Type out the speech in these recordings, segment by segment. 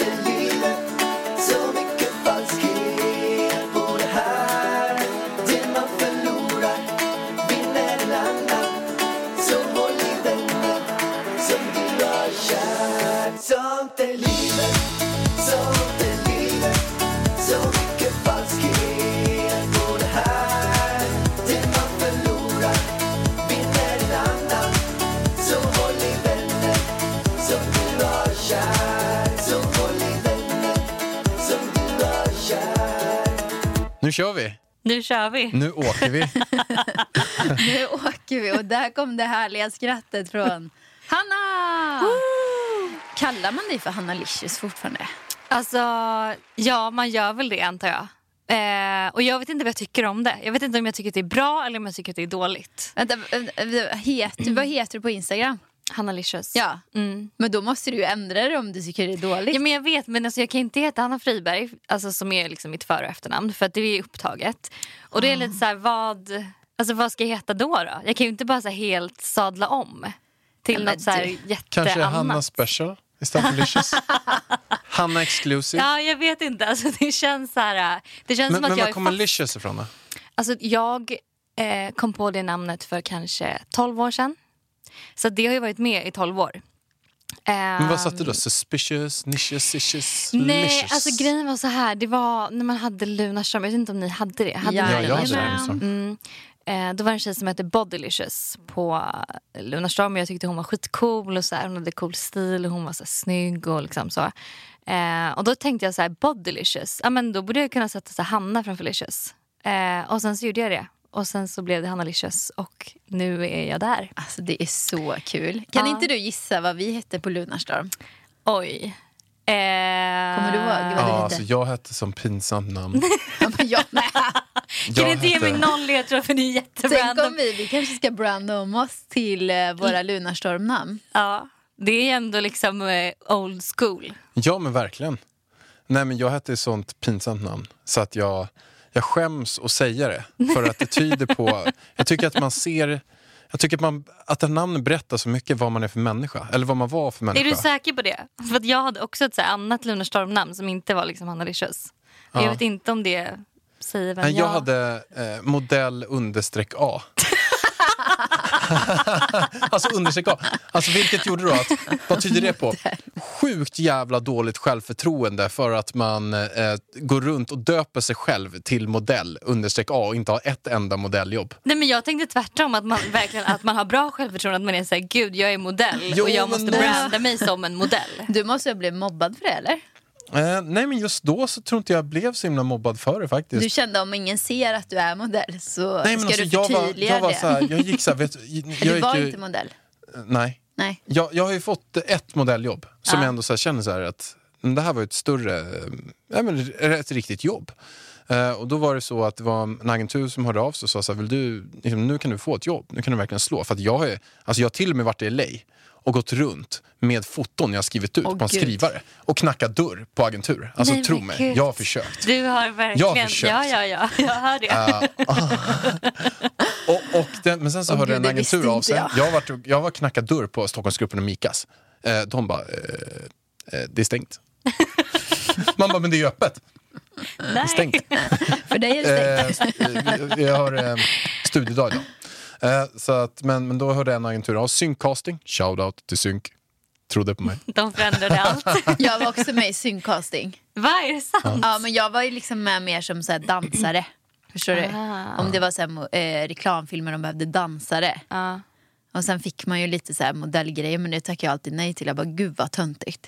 är livet Så mycket falskhet på det här Det man förlorar vinner en annan Så håll i vännen som du har kär Sånt är livet, sånt är livet Så mycket falskhet på det här Det man förlorar vinner en annan Så håll i vännen som du har kär Så håll i vännen som du har kär Nu kör vi! Nu kör vi. Nu åker vi! Nu åker vi och där kom det härliga skrattet från Hanna! Kallar man dig för Hanna Licious fortfarande? Alltså, ja, man gör väl det antar jag. Eh, och jag vet inte vad jag tycker om det. Jag vet inte om jag tycker att det är bra eller om jag tycker att det är dåligt. Vänta, äh, äh, heter, vad heter du på Instagram? Hanna Licious. Ja. Mm. Men då måste du ju ändra det om du tycker det är dåligt. Ja, men jag vet, men alltså, jag kan inte heta Hanna Friberg, alltså, som är liksom mitt för och efternamn, för att det är upptaget. Och det är lite så här, vad, alltså, vad ska jag heta då? då? Jag kan ju inte bara så här, helt sadla om Ja, till men något så här, du- jätte Kanske annat. Hanna Special istället för Licious. Hanna Exclusive. Ja, jag vet inte. Alltså, det känns så här, det känns men som att men jag var är kommer fast Licious ifrån då? Alltså jag eh, kom på det namnet för kanske 12 år sedan. Så det har ju varit med i 12 år. Eh, Men vad satte du då? Suspicious, Nicious, Licious, Um, Nej, Licious? alltså grejen var så här. Det var när man hade Lunarstorm. Jag vet inte om ni hade det. Hade Ja, ni Ja, jag hade Jajamän. det. också. Mm. Eh, då var det en tjej som hette Bodylicious på Lunarstorm och jag tyckte hon var skitcool och så här, hon hade cool stil och hon var så här, snygg och liksom så. Eh, och då tänkte jag så här, Bodylicious, ja men då borde jag kunna sätta så här, Hanna framför Licious. Eh, och sen så gjorde jag det. Och sen så blev det Hanna Licious och nu är jag där. Alltså det är så kul. Kan Ja. inte du gissa vad vi hette på Lunarstorm? Oj. Eh, Kommer du ihåg? Ja, hette? alltså jag hette som pinsamt namn. Ja, men jag med. Kan Jag ni inte ge hette- mig noll ledtrådar för ni är Tänk om jätterandom. vi, vi kanske ska branda om oss till eh, våra Lunarstorm-namn. Ja, det är ändå liksom eh, old school. Ja, men verkligen. Nej, men jag hette ett sånt pinsamt namn så att jag, jag skäms att säga det. För att det tyder på... Jag tycker att man ser... Jag tycker att, man, att ett namn berättar så mycket vad man är för människa. Eller vad man var för Är människa. du säker på det? För att jag hade också ett så här annat Lunarstorm-namn som inte var liksom Hanna Licious. Men Ja. Jag vet inte om det säger vem Nej, jag jag... hade eh, modell understreck A. alltså understreck A. Alltså, vilket gjorde då att, vad tyder det på? Sjukt jävla dåligt självförtroende för att man eh, går runt och döper sig själv till modell understreck A och inte har ett enda modelljobb. Nej men jag tänkte tvärtom att man verkligen att man har bra självförtroende att man är såhär gud jag är modell Jo, och men jag måste det- branda mig som en modell. Du måste ha blivit mobbad för det eller? Eh, nej men just då så tror inte jag blev så himla mobbad för det faktiskt. Du kände om ingen ser att du är modell så nej, men alltså, ska du jag var, förtydliga jag var det. så här, jag gick så här, vet, jag du gick var ju- inte modell? Nej. Nej. Jag, jag har ju fått ett modelljobb som jag ändå så här känner så här att mm, det här var ju ett större, eh, ja, men ett riktigt jobb. Eh, och då var det så att det var en agentur som hörde av sig och sa så här, vill du, liksom, nu kan du få ett jobb, nu kan du verkligen slå. För att jag har alltså jag har till och med varit i LA och gått runt med foton jag har skrivit ut Åh, på en Gud. skrivare och knackat dörr på agentur. Alltså Nej, tro men mig, Gud. jag har försökt. Du har Jag har verkligen, försökt. ja ja ja, jag hör det. Och, och den, men sen så Åh, hörde gud, en det visste agentur av sig. inte Jag har varit, och- jag var knackat dörr på Stockholmsgruppen och Mikas. Eh, de bara, eh, eh, det är stängt. Man bara, men det är ju öppet. Nej. Stängt. För dig är det stängt. Eh, st- vi- vi har eh, studiedag idag. Eh, så att, men, men då hörde en agentur av Syncasting, shoutout till Sync. Trodde på mig. De förändrade allt. Jag var också med i syncasting. Vad är det sant? Ja, men jag var ju liksom med mer som så här dansare. Förstår du? Ah. Om det var så här, mo- eh, reklamfilmer de behövde dansare. Ja. Och sen fick man ju lite så här modellgrejer men det tackade jag alltid nej till. Jag bara gud vad töntigt.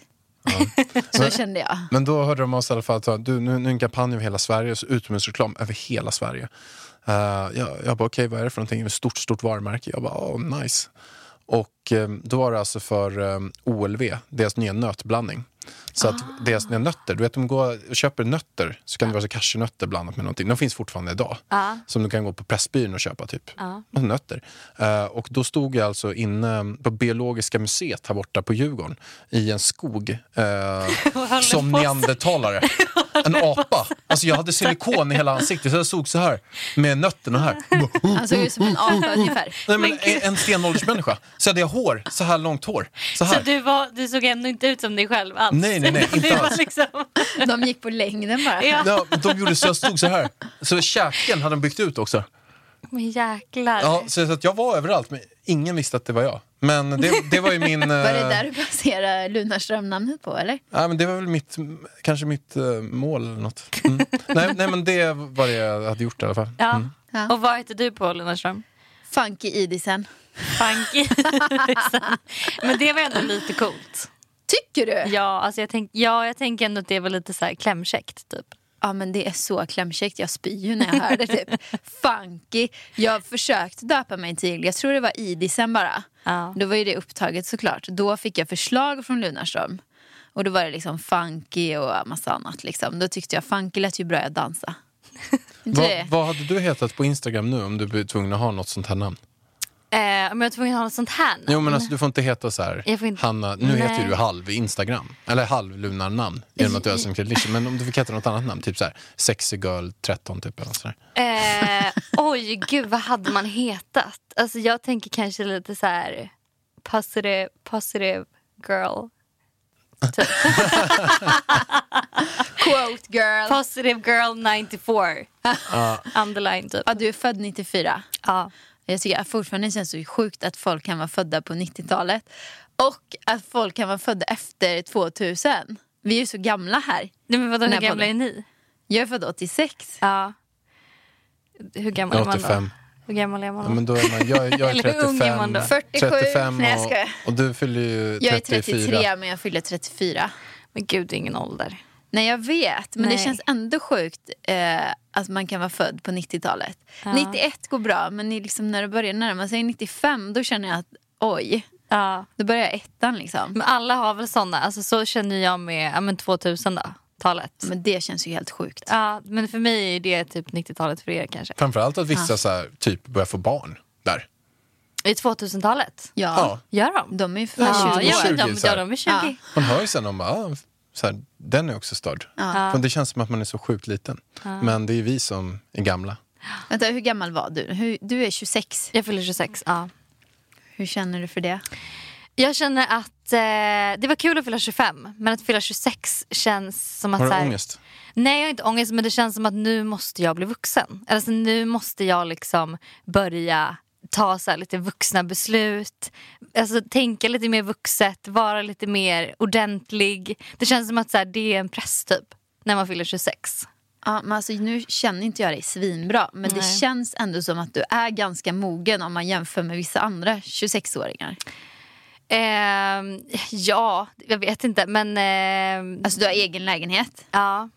Så kände jag. Men då hörde de oss i alla fall att du, nu, nu är en kampanj över hela Sverige, så utomhusreklam över hela Sverige. Eh, jag, jag bara, okej vad är det för någonting? Ett stort, stort varumärke. Jag bara, ehm, oh, nice. Och eh, då var det alltså för eh, OLV, deras nya nötblandning. Så att deras nya nötter, du vet de går och köper nötter så kan det vara så cashewnötter blandat med någonting. De finns fortfarande idag. Som du kan gå på Pressbyrån och köpa typ. Och Nötter. Eh, och då stod jag alltså inne på Biologiska museet här borta på Djurgården i en skog eh, som neandertalare. En apa. Alltså jag hade silikon i hela ansiktet så jag såg så här med nötterna här. Han såg ut Alltså, som en apa ungefär. Mm. Nej, men Men en, en stenåldersmänniska. Så hade jag hår, så här långt hår. Så här. Så du, var, du såg ändå inte ut som dig själv alls? Nej, nej, nej, inte det var alls. liksom... De gick på längden bara. Ja. Ja, men de gjorde så jag stod så här. Så käken hade de byggt ut också. Men jäklar. Ja, så så att jag var överallt, men ingen visste att det var jag. Men det, det var ju min... eh, Var det där du placerade Lunarström-namnet på eller? Ja, men det var väl mitt, kanske mitt eh, mål eller något. Mm. nej, nej, men det var det jag hade gjort i alla fall. Ja. Mm. Ja. Och vad heter du på Lundström? Funky Idisen. Funky. Men det var ändå lite coolt. Tycker du? Ja. Ja, alltså jag, tänk, ja, jag tänker ändå att det var lite så här klämkäckt. Typ. men det är så klämkäckt. Jag spyr ju när jag hör det typ. Funky. Jag försökte döpa mig till, jag tror det var Idisen bara. Ja. Då var ju det upptaget såklart. Då fick jag förslag från Lunarström. Och då var det liksom funky och massa annat liksom. Då tyckte jag funky lät ju bra, jag dansa. Inte Vad- det? vad hade du hetat på Instagram nu om du blev tvungen att ha något sånt här namn? Eh, om jag var tvungen att ha något sånt här namn. Jo, men alltså, du får inte heta så här, Jag får inte- Hanna, nu heter Nej. ju du halv i Instagram, eller halv lunarnamn genom att du är som Kardashian. Men om du fick heta något annat namn, typ så här, sexy girl 13 typ eller något sånt där. Eh, oj, gud vad hade man hetat? Alltså jag tänker kanske lite så här positive, positive girl. Typ. Quote girl. Positive girl 94. Underline typ. Ja, du är född 94. Ja. Jag tycker att fortfarande känns det så sjukt att folk kan vara födda på 90-talet. Och att folk kan vara födda efter 2000. Vi är ju så gamla här. Nej, men vadå, Den hur här gamla podden. är ni? Jag är född 86. Ja. Hur gammal är man då? 85. Hur gammal är man Ja, då? men då är man, jag, jag är Eller hur ung är man 35, då? 47. 35 Nej, jag och, skojar. och du fyller ju 34. Jag är 33 men jag fyller 34. Men gud, det är ingen ålder. Nej jag vet, men det Nej. känns ändå sjukt eh, att man kan vara född på 90-talet. 91 går bra, men i- liksom när det börjar närma sig 95 då känner jag att oj, Ja. då börjar jag ettan liksom. Men alla har väl såna. Alltså, så känner jag med ja, men 2000 då, talet. Mm. Men det känns ju helt sjukt. Ja, men för mig är det typ 90-talet för er kanske. Framförallt att Ah. vissa så här, typ börjar få barn där. I 2000-talet? Ja, Gör de? de är ju för fan Ja, 20 ja, år. men de, 20, så ja, här. de är 20. Ja. Man hör ju sen om bara, ah, så här, den är också störd. För det känns som att man är så sjukt liten. Men det är ju vi som är gamla. Vänta, hur gammal var du? Hur, du är 26. Jag fyller 26. Ja. Hur känner du för det? Jag känner att eh, det var kul att fylla 25 men att fylla 26 känns som att... Har så du här, ångest? Nej jag har inte ångest men det känns som att nu måste jag bli vuxen. Alltså, nu måste jag liksom börja ta så här lite vuxna beslut. Alltså tänka lite mer vuxet, vara lite mer ordentlig. Det känns som att så här, det är en press typ när man fyller 26. Ja, men alltså, nu känner inte jag dig svinbra, men det Nej. känns ändå som att du är ganska mogen om man jämför med vissa andra 26-åringar. Ehm, ja, jag vet inte men... ehm, Alltså du har egen lägenhet. ja.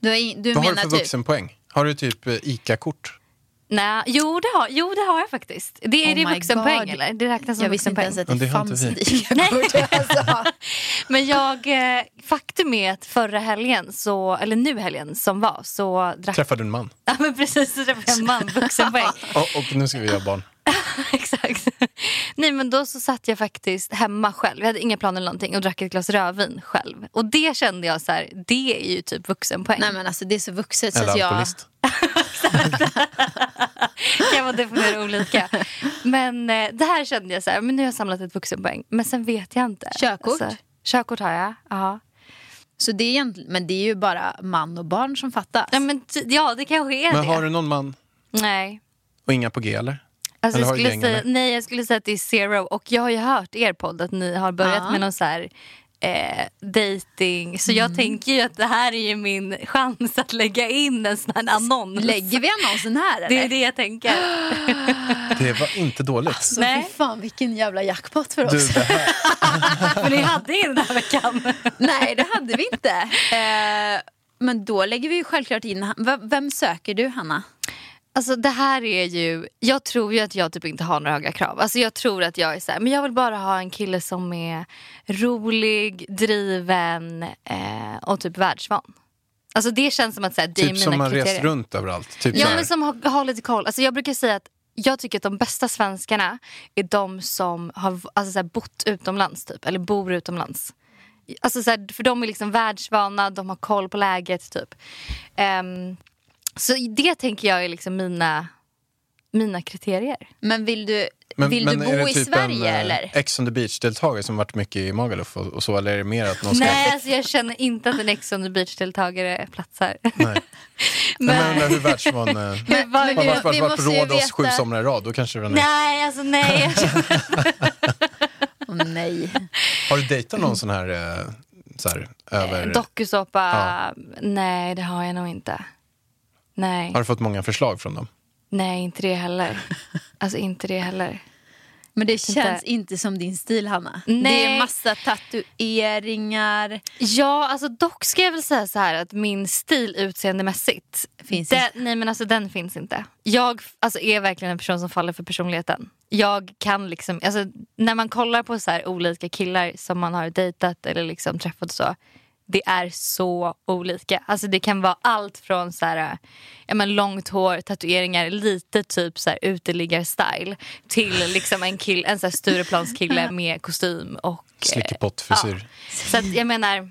Du, har in, du Vad har du menar för typ... vuxenpoäng? Har du typ eh, ICA-kort? Nej, jo det, har, jo det har jag faktiskt. Det är Oh det my vuxenpoäng God. eller? Det räknas som Jag visste inte vuxenpoäng. ens att Men det det har inte fanns vi. ICA-kort. Alltså. Men jag, eh, faktum är att förra helgen, så, eller nu helgen som var, så drack Träffade en man. Ja, men precis, så träffade jag en man, vuxenpoäng. Och, och nu ska vi ha barn. Exakt. Nej men då så satt jag faktiskt hemma själv, jag hade inga planer eller någonting och drack ett glas rödvin själv. Och det kände jag så här, det är ju typ vuxenpoäng. Nej men alltså det är så vuxet så Eller att jag... alkoholist. kan man definiera olika. Men eh, det här kände jag så här, men nu har jag samlat ett vuxenpoäng. Men sen vet jag inte. Alltså, Körkort? körkort har jag, ja. Så det är egentligen... Men det är ju bara man och barn som fattas. Ja, men, ty- ja det kanske är Men det. har du någon man Nej. och inga på G eller? Alltså, Eller jag har du skulle gäng, säga, eller? nej jag skulle säga att det är zero och jag har ju hört i er podd att ni har börjat Ja. med någon så här eh, dating. Så jag tänker ju att det här är ju min chans att lägga in en sån här annons. Lägger vi annonsen här eller? det är det jag tänker. Det var inte dåligt. Så Nej. Alltså, fy fan vilken jävla jackpot för oss. Du, det här, För ni hade ju den här veckan. Nej, det hade vi inte. Eh, men då lägger vi ju självklart in... Vem söker du, Hanna? Alltså det här är ju, jag tror ju att jag typ inte har några höga krav. Alltså jag tror att jag är så här, men jag vill bara ha en kille som är rolig, driven eh, och typ världsvan. Alltså det känns som att så här, det är Typ mina som man kriterier. rest runt överallt. Typ Ja så här. men som har, har lite koll. Alltså jag brukar säga att jag tycker att de bästa svenskarna är de som har alltså, så här, bott utomlands typ, eller bor utomlands. Alltså, så här, för de är liksom världsvana, de har koll på läget typ. Ehm, så det tänker jag är liksom mina, mina kriterier. Men vill du, Men- vill men du är bo det i typ Sverige en, eh, eller? Ex on the beach-deltagare som varit mycket i Magaluf och, och så, eller är det mer att någon ska... Nej alltså jag känner inte att en Ex on the beach-deltagare platsar. Nej. Men jag undrar hur världsvan... eh, Men vad- Har varit, vi- varit, vi varit måste på ju Rhodos sju veta- somrar i rad, då kanske den är... Nej alltså nej. Jag känner- Åh, nej. Har du dejtat någon sån här, eh, så här över... Dokusåpa, nej det har jag nog inte. Nej. Har du fått många förslag från dem? Eh, Nej, inte det heller. Alltså inte det heller. Men det känns inte som din stil Hanna. Det är Nej. massa tatueringar. Ja, alltså dock ska jag väl säga så här att min stil utseendemässigt. Finns den, nej men alltså den finns inte. Jag alltså, är verkligen en person som faller för personligheten. Jag kan liksom, alltså när man kollar på så här olika killar som man har dejtat eller liksom träffat och så. Det är så olika. Alltså det kan vara allt från så här, ja, men långt hår, tatueringar, lite typ så här uteliggar-style till liksom en, kill, en så här Stureplanskille med kostym och... eh, Slickepott-frisyr? så att jag menar,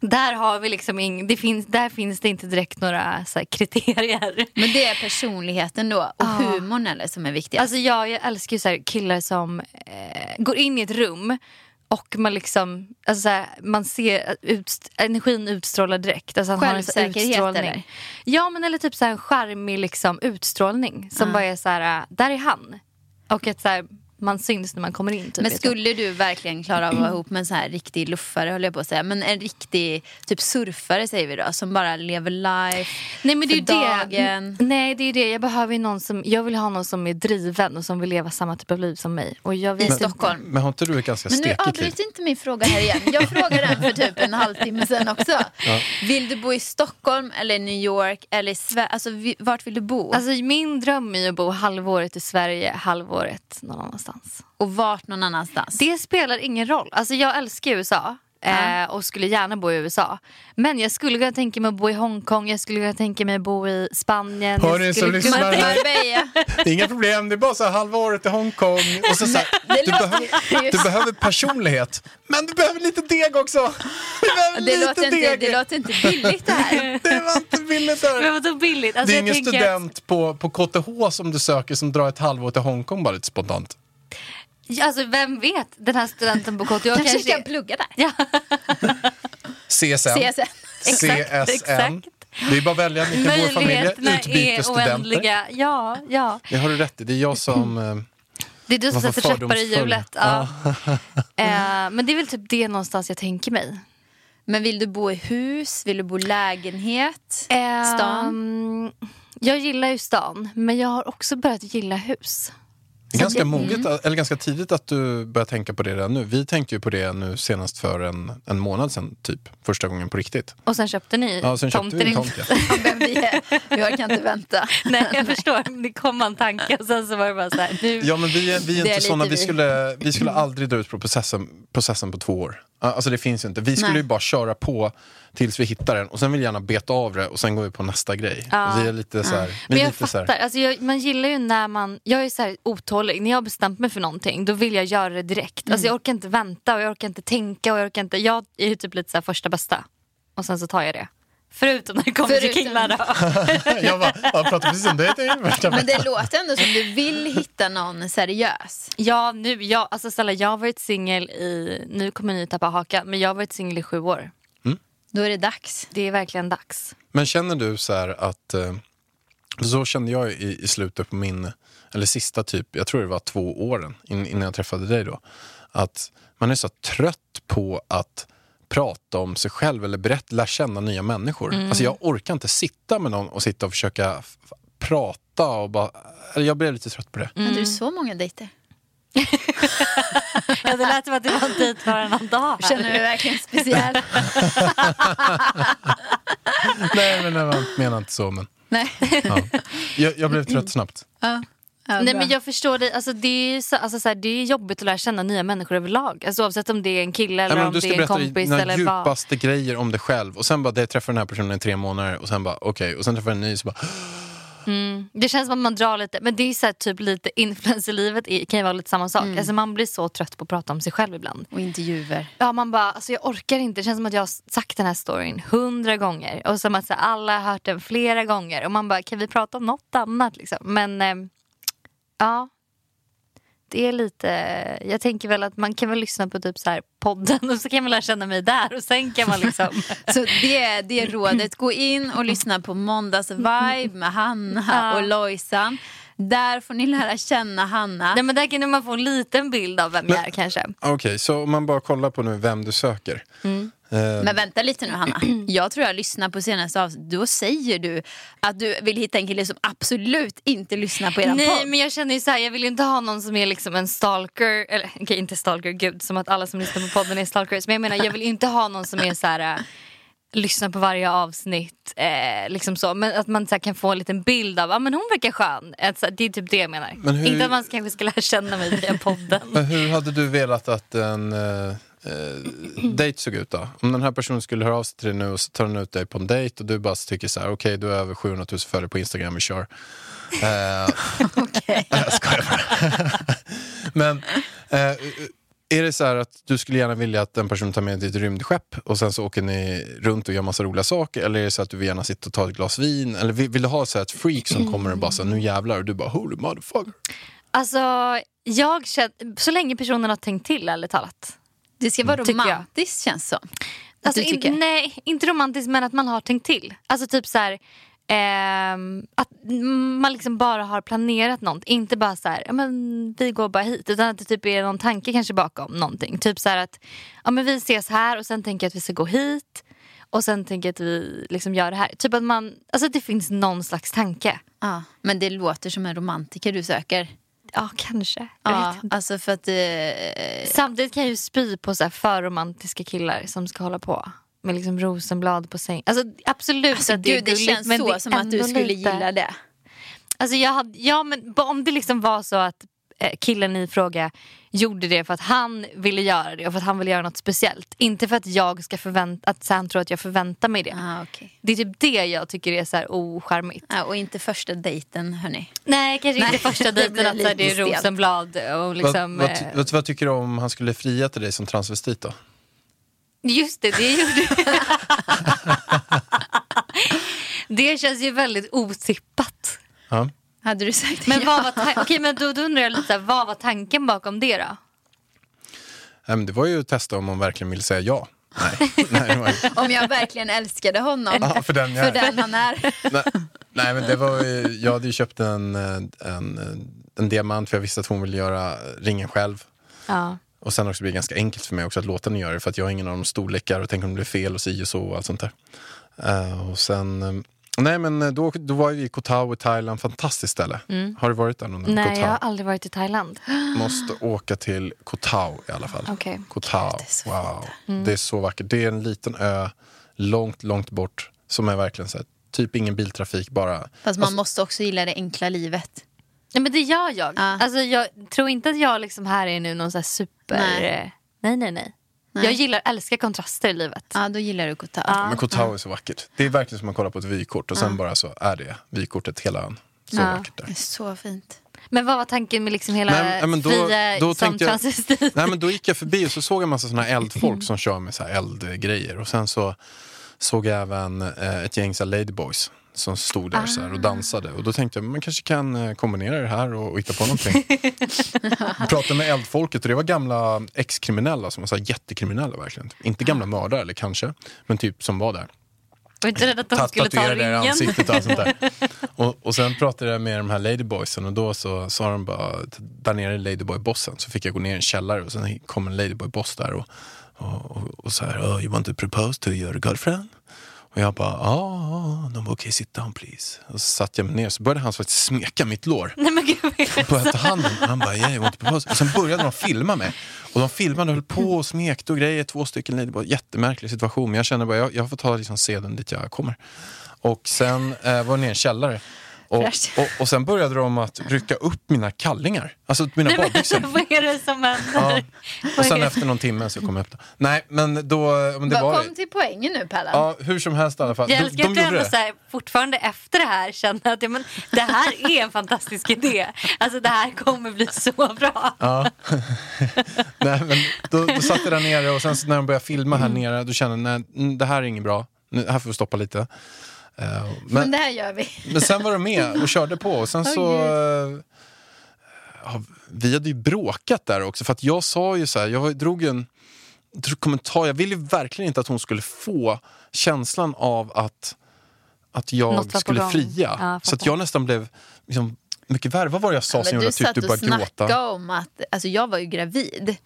där har vi liksom ing, det finns, där finns det inte direkt några så här, kriterier. Men det är personligheten då och humorn eller som är viktigast. Alltså jag, jag älskar ju så här killar som eh, går in i ett rum och man liksom, alltså så här, man ser ut, energin utstrålar direkt. Alltså han har en så här Självsäkerhet, utstrålning. eller? Ja men eller typ så här en charmig liksom, utstrålning som bara är så här, eh, där är han. Och att så här, man syns när man kommer in. Typ, men vet du. skulle du verkligen klara av att vara ihop med en sån här riktig luffare höll jag på att säga. Men en riktig typ surfare säger vi då. Som bara lever life Nej men det är ju för det. dagen. N- Nej det är ju det. Jag behöver ju någon som, jag vill ha någon som är driven och som vill leva samma typ av liv som mig. Och jag I vet inte. Stockholm. Men har inte du ett ganska Men nu typ. stekigt liv? avbryt inte min fråga här igen. Jag frågade den för typ en halvtimme sedan också. Vill du bo i Stockholm eller New York eller i Sverige? Alltså vi- vart vill du bo? Alltså min dröm är ju att bo halvåret i Sverige, halvåret någon annanstans. och vart någon annanstans? Det spelar ingen roll. Alltså jag älskar USA. Eh, och skulle gärna bo i USA. Men jag skulle kunna tänka mig att bo i Hongkong, jag skulle kunna tänka mig att bo i Spanien. Hör jag ni som skulle kunna- lyssnar här? Marbella. Det är inga problem, det är bara så här halva året i Hongkong. Och så så här, du, behöver, du behöver personlighet, men du behöver lite deg också. Du behöver Det lite låter, inte, deg. det låter inte billigt det här. Det var inte billigt där. Men vadå billigt? Alltså, det är jag ingen tänker student på, på KTH som du söker som drar ett halvår till Hongkong bara lite spontant. Ja, Alltså vem vet, den här studenten på KTH Kanske kanske... kan plugga där. ja, CSN. Ses sen. CSN. Exakt, exakt. Det är bara att välja vilken vår familj är. möjligheterna Utbyte är studenter. oändliga. Ja, ja. Det har du rätt i, det är jag som... eh, Det är du som Varför sätter käppar i fördomsfull? hjulet. Ja. eh, men det är väl typ det någonstans jag tänker mig. Men vill du bo i hus? Vill du bo i lägenhet? Stan? Ehm, jag gillar ju stan, men jag har också börjat gilla hus. Det är ganska moget, eller ganska tidigt att du börjar tänka på det redan nu. Vi tänkte ju på det nu senast för en, en månad sedan, typ. Första gången på riktigt. Och sen köpte ni Ja, sen köpte tomten. vi en i- tomt. Ja. Vem vi är. Jag kan inte vänta. Nej, jag förstår. Det kom en tanke och sen så var det bara så här. Nu. Ja, men vi, är- vi är Det inte är lite såna. Vi vi. skulle, vi skulle aldrig dra ut på processen, processen på två år. Alltså det finns ju inte. Vi skulle Nej. ju bara köra på tills vi hittar den och sen vill vi gärna beta av det och sen går vi på nästa grej. Ja. Vi är lite så här, vi Men är jag lite så fattar. här, Alltså jag, man gillar ju när man... Jag är så här otålig. När jag har bestämt mig för någonting, då vill jag göra det direkt. Alltså jag orkar inte vänta och jag orkar inte tänka. och Jag orkar inte... Jag är ju typ lite så här första bästa. Och sen så tar jag det. Förutom när det kommer till Förutom- killar då. jag, bara, jag pratar precis om det. det är ju värsta- Men det låter ändå som du vill hitta någon seriös. Ja, nu, jag, alltså snälla, jag har varit singel i, nu kommer ni tappa hakan, men jag har varit singel i sju år. Då är det dags. Det är verkligen dags. Men känner du så här att... eh, Så kände jag i, i slutet på min, eller sista typ, jag tror det var två åren in, innan jag träffade dig då. Att man är så trött på att prata om sig själv eller berätta, lära känna nya människor. Alltså jag orkar inte sitta med någon och sitta och försöka f- f- prata och bara... Eller jag blev lite trött på det. Hade du så många dejter? Ja, det lät som att det var en dejt varannan dag. här. Känner du dig verkligen speciell? Nej, men jag menar inte så. Men, Nej. Ja. Jag, jag blev trött snabbt. Ja, Nej, bra. men jag förstår dig. Alltså, det, är ju så, alltså, så här, det är jobbigt att lära känna nya människor överlag. Alltså, oavsett om det är en kille eller Nej, men om du ska det är en berätta kompis. dina Eller vad. djupaste grejer om dig själv och sen bara, det träffar den här personen i tre månader och sen bara, okej, och sen träffar en ny så bara, Det känns som att man drar lite, men det är så här, typ lite influencerlivet i- kan ju vara lite samma sak. Alltså, man blir så trött på att prata om sig själv ibland. Och intervjuer. Ja, man bara, alltså jag orkar inte. Det känns som att jag har sagt den här storyn hundra gånger. Och som att så här, alla har hört den flera gånger. Och man bara, kan vi prata om något annat? Liksom? Men eh, ja, det är lite... Jag tänker väl att man kan väl lyssna på typ så här podden och så kan man lära känna mig där. Och sen kan man liksom... Så det, är- det är rådet. Gå in och lyssna på Måndags Vibe med Hanna Ja. och Lojsan. Där får ni lära känna Hanna. Nej, men där kan man få en liten bild av vem jag är kanske. okej, så om man bara kollar på nu vem du söker. Mm. Eh, Men vänta lite nu Hanna. Jag tror jag lyssnar på senaste avsnittet. Då säger du att du vill hitta en kille som absolut inte lyssnar på eran Nej podd. men jag känner ju så här, jag vill ju inte ha någon som är liksom en stalker, eller okej inte stalker, gud som att alla som lyssnar på podden är stalkers. Men jag menar jag vill ju inte ha någon som är så här, äh, lyssnar på varje avsnitt. Eh, liksom så. Men att man så här, kan få en liten bild av, ja ah, men hon verkar skön. Att, så här, det är typ det jag menar. Men hur- Inte att man kanske ska lära känna mig via podden. Men hur hade du velat att en eh, eh, dejt såg ut då? Om den här personen skulle höra av sig till dig nu och så tar den ut dig på en dejt och du bara tycker så här, okej du har över 700 000 följare på Instagram, vi kör. Eh, Nej, Jag skojar bara. Men eh, är det så här att du skulle gärna vilja att den personen tar med ditt rymdskepp och sen så åker ni runt och gör massa roliga saker? Eller är det så att du vill gärna sitta och ta ett glas vin? Eller vill, vill du ha så här ett freak som kommer och bara så här, nu jävlar och du bara holy motherfucker? Alltså jag känner, så länge personen har tänkt till ärligt talat. Det ska vara Tycker jag. romantiskt känns som. Att Alltså, du in, tycker. nej, inte romantiskt men att man har tänkt till. Alltså typ så här, ehm, att mm, man liksom bara har planerat något. Inte bara så här, ja, men vi går bara hit. Utan att det typ är någon tanke kanske bakom någonting. Typ så här att ja, men vi ses här och sen tänker jag att vi ska gå hit. Och sen tänker jag att vi liksom gör det här. Typ att man, alltså att det finns någon slags tanke. Ja, men det låter som en romantiker du söker. Ja, kanske. Jag Ja, vet inte. alltså för att... Eh, Samtidigt kan jag ju spy på så här för romantiska killar som ska hålla på med liksom rosenblad på säng. Alltså absolut alltså, att det gud, är det gulligt, känns men så det är som att du ändå skulle lite- gilla det. Alltså jag hade, ja men ba- om det liksom var så att eh, killen i fråga gjorde det för att han ville göra det och för att han ville göra något speciellt. Inte för att jag ska förvänta, att så han tror att jag förväntar mig det. Ah, okej. Det är typ det jag tycker är så här ocharmigt. ja, och inte första dejten, hörni. Nej kanske Nej, inte första det dejten att blir så här, det är lite stelt. rosenblad och liksom... vad, vad, ty- eh, vad, vad tycker du om han skulle fria till dig som transvestit då? Just det, det gjorde jag. Det känns ju väldigt otippat. Ja. Eh, Hade du sagt Men, ja? vad var ta- okej, men då, då undrar jag lite, så här, vad var tanken bakom det då? Nej, men det var ju att testa om hon verkligen vill säga ja. Nej, nej, det var ju, Om jag verkligen älskade honom. ja för den jag För är. den han är. Nej, nej, men det var ju, jag hade ju köpt en, eh, en, eh, en diamant för jag visste att hon ville göra ringen själv. Ja. Och sen också blir det ganska enkelt för mig också att låta henne göra det för att jag har ingen av de storlekar och tänker om det blir fel och si och så och allt sånt där. Eh, och sen, eh, nej men eh, då, då var vi i Koh Tao i Thailand, fantastiskt ställe. Har du varit där någon gång? Koh Mm. Nej, Tao? jag har aldrig varit i Thailand. Måste åka till Koh Tao i alla fall. Okej. Koh Tao. wow. Det är så vackert. Det är en liten ö långt, långt bort som är verkligen så här, typ ingen biltrafik bara. Fast man måste också gilla det enkla livet. Nej, men det gör jag. Ja. Alltså, jag tror inte att jag liksom här är nu någon så här super... Nej. Nej. nej, nej, nej. Jag gillar, älskar kontraster i livet. Ja, då gillar du Kotao. Ja. Men Koh Tao är så vackert. Det är verkligen som man kollar på ett vykort och sen bara så är det vykortet hela ön. Så Ja. vackert där. Det är så fint. Men vad var tanken med liksom hela Nej, men- men då- fria då som tänkte jag- transvestit? Nej men då gick jag förbi och så såg jag en massa såna här eldfolk som kör med så här eldgrejer och sen så såg jag även eh, ett gäng så här ladyboys som stod där så här och dansade och då tänkte jag man kanske kan eh, kombinera det här och, och hitta på någonting. Pratade med eldfolket och det var gamla ex-kriminella som var så här jättekriminella verkligen. Inte gamla mördare eller kanske, men typ som var där. Jag var inte rädd att de Ta- skulle ta tatuerade i ringen. ansiktet och allt sånt där. Och, och sen pratade jag med de här ladyboysen och då så sa de bara, där nere är ladyboy-bossen. Så fick jag gå ner i en källare och sen kom en ladyboy-boss där och, och, och, och så här, oh, you want to propose to your girlfriend? Och jag bara, ja, ja, de bara, okej, sit down please. Och så satt jag mig ner så började han faktiskt smeka mitt lår Nej, men gud. började ta hand om Han bara, yeah, I want to propose. Och sen började de filma mig. Och de filmade och höll på och smekte och grejer. Två stycken lady. Det var en jättemärklig situation. Men jag kände bara, jag, jag får ta liksom seden dit jag kommer. Och sen eh, var ni i en källare. Och, Fräscht. och, och sen började de att rycka upp mina kallingar. Alltså mina Nej, men alltså, badbyxor. vad är det som händer? Och sen efter någon timme så kom jag upp det. Nej, men då... Men det Bara var kom det. till poängen nu Pellan. Ja, hur som helst i alla fall. Jag De- älskar att de du gjorde ändå det. så här, fortfarande efter det här känner att ja, men, det här är en fantastisk idé. Alltså det här kommer bli så bra. Ja. nej, men då, då satt jag där nere och sen så när de började filma Mm. här nere då kände jag nej, mm, det här är inget bra. Nu, här får vi stoppa lite. Eh, Men men, det här gör vi. men sen var de med och körde på och sen så... eh, ja, vi hade ju bråkat där också för att jag sa ju så här, jag var- drog ju en drog kommentar. Jag ville ju verkligen inte att hon skulle få känslan av att, att Något var på jag skulle gång. fria. Ja, så att fattar. jag nästan blev liksom, mycket värre. Vad var det jag sa Men som gjorde du att jag satt tyckte du och började gråta? snackade om att, alltså jag var ju gravid.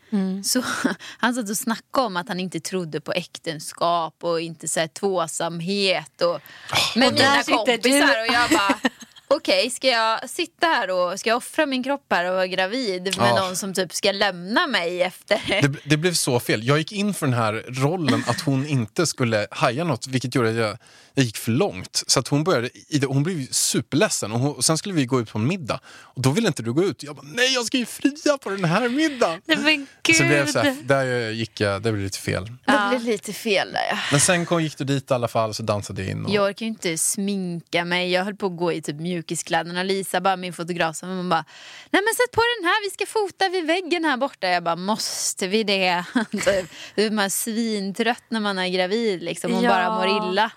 Så han satt och snackade om att han inte trodde på äktenskap och inte så här, tvåsamhet. Och, Ah, men där mina sitter kompisar du. och jag bara okej ska jag sitta här och ska jag offra min kropp här och vara gravid med Ja. någon som typ ska lämna mig efter? Det, det blev så fel. Jag gick in för den här rollen att hon inte skulle haja något vilket gjorde att jag, jag gick för långt. Så att hon, började, i det- hon blev ju superledsen och, hon, och sen skulle vi gå ut på en middag. Och då ville inte du gå ut. Jag bara, nej jag ska ju fria på den här middagen. Nej men Så blev jag gud. så här, där eh, gick jag, det blev lite fel. Det blev lite fel där ja. Men sen kom, gick du dit i alla fall så dansade jag in. Och, Jag orkar ju inte sminka mig. Jag höll på att gå i typ mjukiskläderna. Lisa, bara min fotograf, som hon bara Nej men sätt på den här, vi ska fota vid väggen här borta. Jag bara, måste vi det? typ. Man är svintrött när man är gravid liksom och Ja. bara mår illa.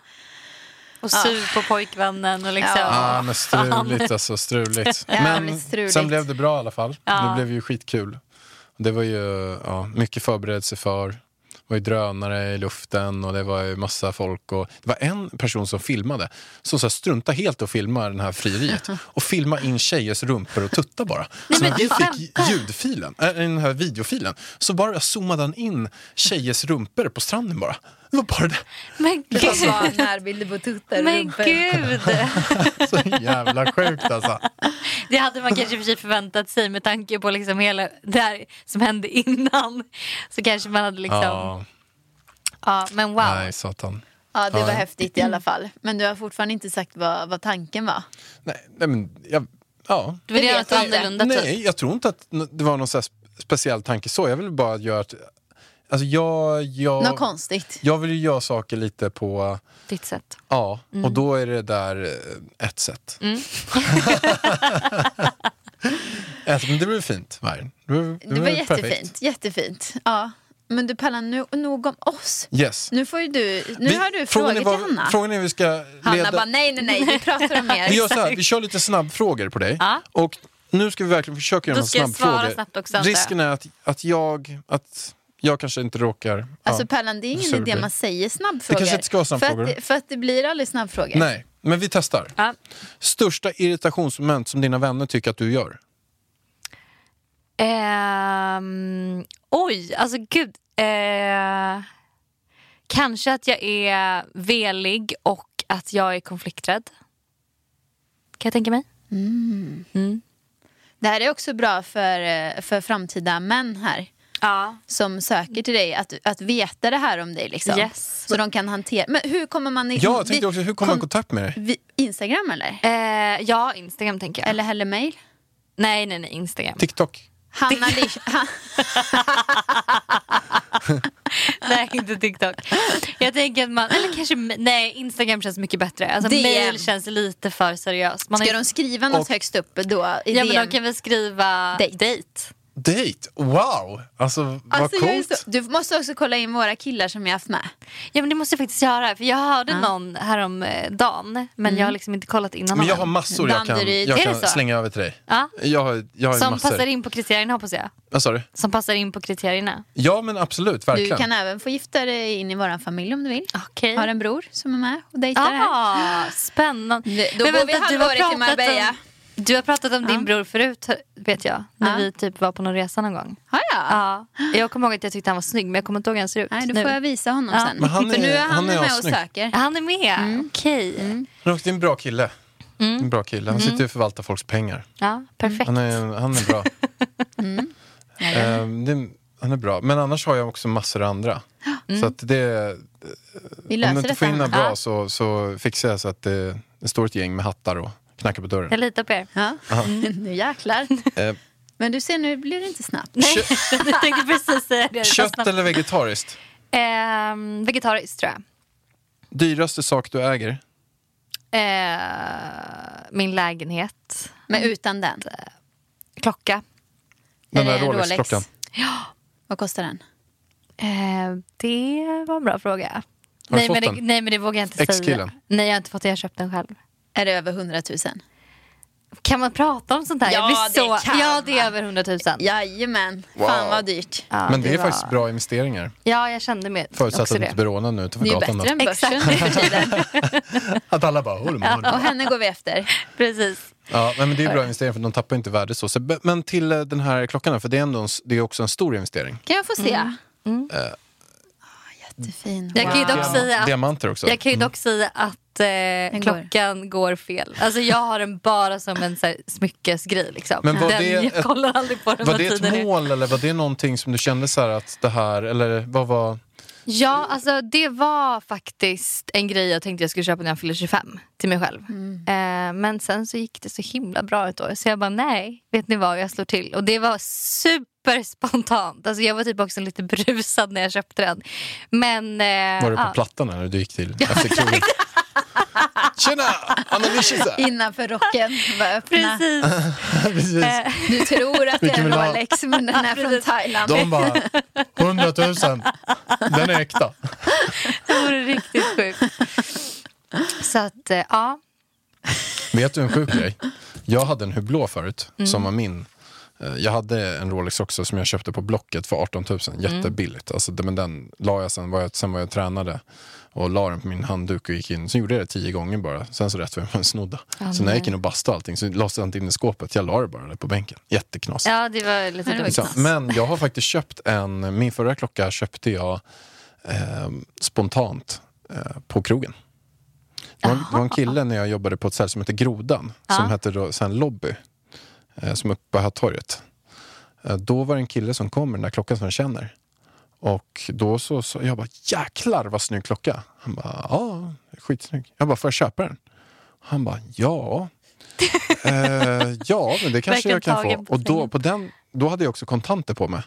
Och sur på pojkvännen och liksom. Ja. Ah, men struligt alltså, struligt. Men Jävligt struligt. sen blev det bra i alla fall. Det blev ju skitkul. Det var ju ja, mycket förberedelse för. Det var ju drönare i luften och det var ju massa folk. Och det var en person som filmade. Som så här, strunta helt och filma den här frieriet. Och filma in tjejers rumpor och tuttar bara. så när vi fick ljudfilen, äh, den här videofilen, så bara zoomade han in tjejers rumpor på stranden bara. Det var bara det. Men Det gud. var närbilder på tuttar och Men rumpor. gud. Så jävla sjukt alltså. Det hade man kanske i och för sig förväntat sig med tanke på liksom hela det här som hände innan. Så kanske man hade liksom. Ja, Ja, men wow. nej satan. Ja det var Ja. häftigt i alla fall. Men du har fortfarande inte sagt vad, vad tanken var. Nej, nej men jag, ja. Du vill Det göra vet något jag inte. annorlunda typ. Nej, jag tror inte att n- det var någon så här sp- speciell tanke så. Jag vill bara göra att... Alltså jag, Något jag, konstigt. jag vill ju göra saker lite på... Ditt sätt. Ja, Mm. och då är det där eh, ett sätt. ett, men det blev fint, Maren. Det, blev- Det var blev jättefint. Mm, perfekt. Jättefint. Ja. Men du Pellan, nu, nog om oss. Yes. Nu, får ju du, nu Vi- har du frågor frågan är till vad- Hanna. Frågan är hur vi ska Hanna leda... bara nej, nej, nej, vi pratar om Vi gör er. så här, vi kör lite snabbfrågor på dig. Och nu ska vi verkligen försöka göra Då några ska jag snabbfrågor. svara snabbt också, antar jag. Risken är att, att, jag, att jag kanske inte råkar... Alltså ja. Pellan, det är Så ingen det idé blir. man säger snabbfrågor. Det kanske inte ska vara snabbfrågor. För att, det- för att det blir aldrig snabbfrågor. Nej, men vi testar. Ja. Största irritationsmoment som dina vänner tycker att du gör? Ehm, oj, alltså gud. Eh, kanske att jag är velig och att jag är konflikträdd. Kan jag tänka mig? Det här är också bra för, eh, för framtida män här. Ja. Som söker till dig, att, att veta det här om dig. Liksom. Yes. Så de kan hantera. Men hur kommer man... i- Ja, jag vi- tänkte också, hur kommer man i kon- kontakt med dig? vi- Instagram eller? Eh, ja, Instagram tänker jag. Eller heller mail? Nej, nej, nej, Instagram. TikTok? Hanna Lish- Han- Nej, inte TikTok. Jag tänker att man, eller kanske, nej Instagram känns mycket bättre. Alltså DM. mail känns lite för seriöst. Man har Ska ju- de skriva något högst upp då? I ja men DM? de kan väl skriva Date. Date? Wow! Alltså, vad Alltså, jag är coolt. så... Du måste också kolla in våra killar som jag haft med. Ja men det måste jag faktiskt göra för jag hörde någon häromdagen men jag Mm. har liksom inte kollat innan. Men jag honom. har massor jag kan, Danderyd. jag Är det kan så? slänga över till dig. Ja. Jag har, jag har ju Som massor. passar in på kriterierna hoppas jag. Vad sa du? Som passar in på kriterierna. Ja, men absolut. Du Verkligen. kan även få gifta dig in i vår familj om du vill. Okej. Har en bror som är med och dejtar här. Ah, spännande. Det- då går vi du halvåret till har pratat Marbella. om, du har pratat om din bror förut vet jag. När vi typ var på någon resa någon gång. Har jag? Ja. Jag kommer ihåg att jag tyckte han var snygg men jag kommer inte ihåg hur han ser ut Nej, då nu. får jag visa honom sen. Men han För nu är- är han, han är med och assnygg. söker. Han är med, Mm. okej. Men också, det är en bra kille. Mm. En bra kille. Han sitter ju och förvaltar folks pengar. Ja, perfekt. Han är, han är bra. Mm. Ehm, det, han är bra. Men annars har jag också massor andra. Mm. Så att det, Vi om löser du inte får in detta, något Hanna. bra så, så fixar jag så att det, det står ett gäng med hattar och knackar på dörren. Jag litar på er. Ja. nu jäklar. Eh, Men du ser, nu blir det inte snabbt. kö- Jag tänkte precis säga det. kött eller vegetariskt? Ehm, Eh, vegetariskt tror jag. Dyraste sak du äger? Eh, min lägenhet. Men utan den. Klocka. Den Är där det en Rolex-klockan. Vad kostar den? Eh, det var en bra fråga. Har du nej, fått men det, den? nej men det vågar jag inte Ex-killen? säga. Nej jag har inte fått det, jag har köpt den själv. Är det över 100 000? Kan man prata om sånt här? Ja, jag blir det så... kan ja det man. är över 100 000. Ja, Jajamän. Fan vad dyrt. Men det, är var- faktiskt bra investeringar. Ja jag kände med Förutsatt också att du det. inte blir rånad nu utanför Det är ju gatan. bättre Då. än börsen nu för tiden. Att alla bara... "Hur är det med honom?" Och henne går vi efter. Precis. Ja, nej, men det är bra investeringar för de tappar inte värde så. så. be- Men till eh, den här klockan, då, för det är, ändå en, s- det är också en stor investering. Kan jag få se? Ah, jättefin. Jag kan ju Wow. dock säga att Diamanter också. Jag kan ju dock säga att eh, går. klockan går fel. Alltså jag har den bara som en så här, smyckesgrej. Liksom. Men var den, det ett- jag kollar aldrig på den Var vad det tiden ett är. mål eller var det någonting som du kände så här att det här, eller vad var... Ja, alltså det var faktiskt en grej jag tänkte jag skulle köpa när jag fyllde 25 till mig själv. Eh, men sen så gick det så himla bra ett år så jag bara nej, vet ni vad, jag slår till. Och det var superspontant. Alltså jag var typ också lite brusad när jag köpte den. Men... eh, Var det på ja. plattan eller när du gick till efter krogen? Tjena! Anna Nishisa! Innanför rocken. Bara öppna. Precis. Precis. Du tror att det är Vilken vill du ha? Rolex men den är från Thailand. De bara, 100 000. Den är äkta. Det vore riktigt sjukt. Så att, eh, ja. Vet du en sjuk grej? Jag hade en Hublå förut, som var min. Eh, Jag hade en Rolex också som jag köpte på Blocket för 18 000. Jättebilligt. Alltså, det- men den la jag sen, var jag, sen var jag och tränade och la den på min handduk och gick in. Sen gjorde jag det tio gånger bara. Sen så rätt för mig en snodda. så när jag gick in och bastade och allting så lades den inte in i skåpet. Jag la det bara där på bänken. Jätteknasigt. ja, det var lite dumt. Liksom. Men jag har faktiskt köpt en, min förra klocka köpte jag eh, spontant eh, på krogen. Det var, det var en kille när jag jobbade på ett ställe som hette Grodan, som hette då, sen Lobby, eh, som uppe på Hötorget. Eh, då var det en kille som kom med den där klockan som jag känner. Och då så, så jag bara, jäklar vad snygg klocka. Han bara, ja, skitsnygg. Jag bara, får jag köpa den? Han bara, ja. eh, ja, men det kanske Verkligen jag kan tagen få. på Och då, sängen. på den, då hade jag också kontanter på mig.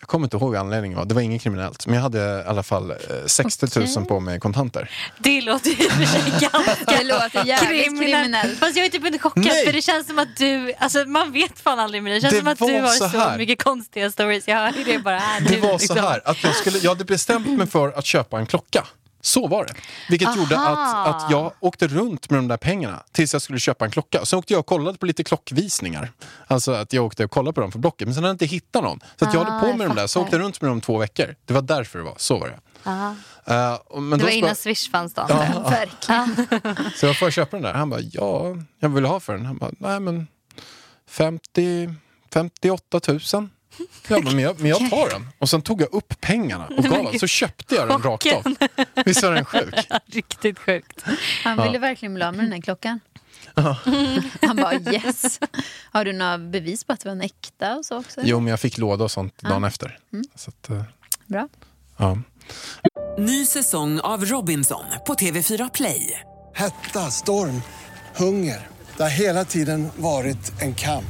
Jag kommer inte ihåg vad anledningen var. Det var inget kriminellt. Men jag hade i alla fall eh, 60 000 på mig i kontanter. Det låter ju i och för sig Det ganska låter jävligt kriminellt. Fast jag är typ inte chockad Nej. för det känns som att du, alltså man vet fan aldrig med dig. Det känns Det som att var du har så så, här. mycket konstiga stories. Jag hör ju det bara här Det nu, var så liksom. här att jag, skulle, jag hade bestämt mig för att köpa en klocka. Så var det. Vilket gjorde att, att jag åkte runt med de där pengarna tills jag skulle köpa en klocka. Sen åkte jag och kollade på lite klockvisningar. Alltså att jag åkte och kollade på dem för Blocket. Men sen hade jag inte hittat någon. Så att jag höll på Ah, jag med dem där. Så fattar. åkte jag runt med dem två veckor. Det var därför det var. Så var det. Eh, och- men Det då var så innan bara- Swish fanns då. Ja. Verkligen. Så jag får köpa den där. Han bara, ja, jag vill ha för den. Han bara, nej men 50, 58 000. Jag bara, men, jag, men jag tar den. Och sen tog jag upp pengarna och gav den. Så köpte jag den rakt av. Visst var den sjuk? Riktigt sjukt. Han ville verkligen bli av med den här klockan. Han bara yes. Har du några bevis på att det var en äkta och så också? Jo, men jag fick låda och sånt dagen efter. Så att, eh, Mm. Bra. ja. Ny säsong av Robinson på TV4 Play. Hetta, storm, hunger. Det har hela tiden varit en kamp.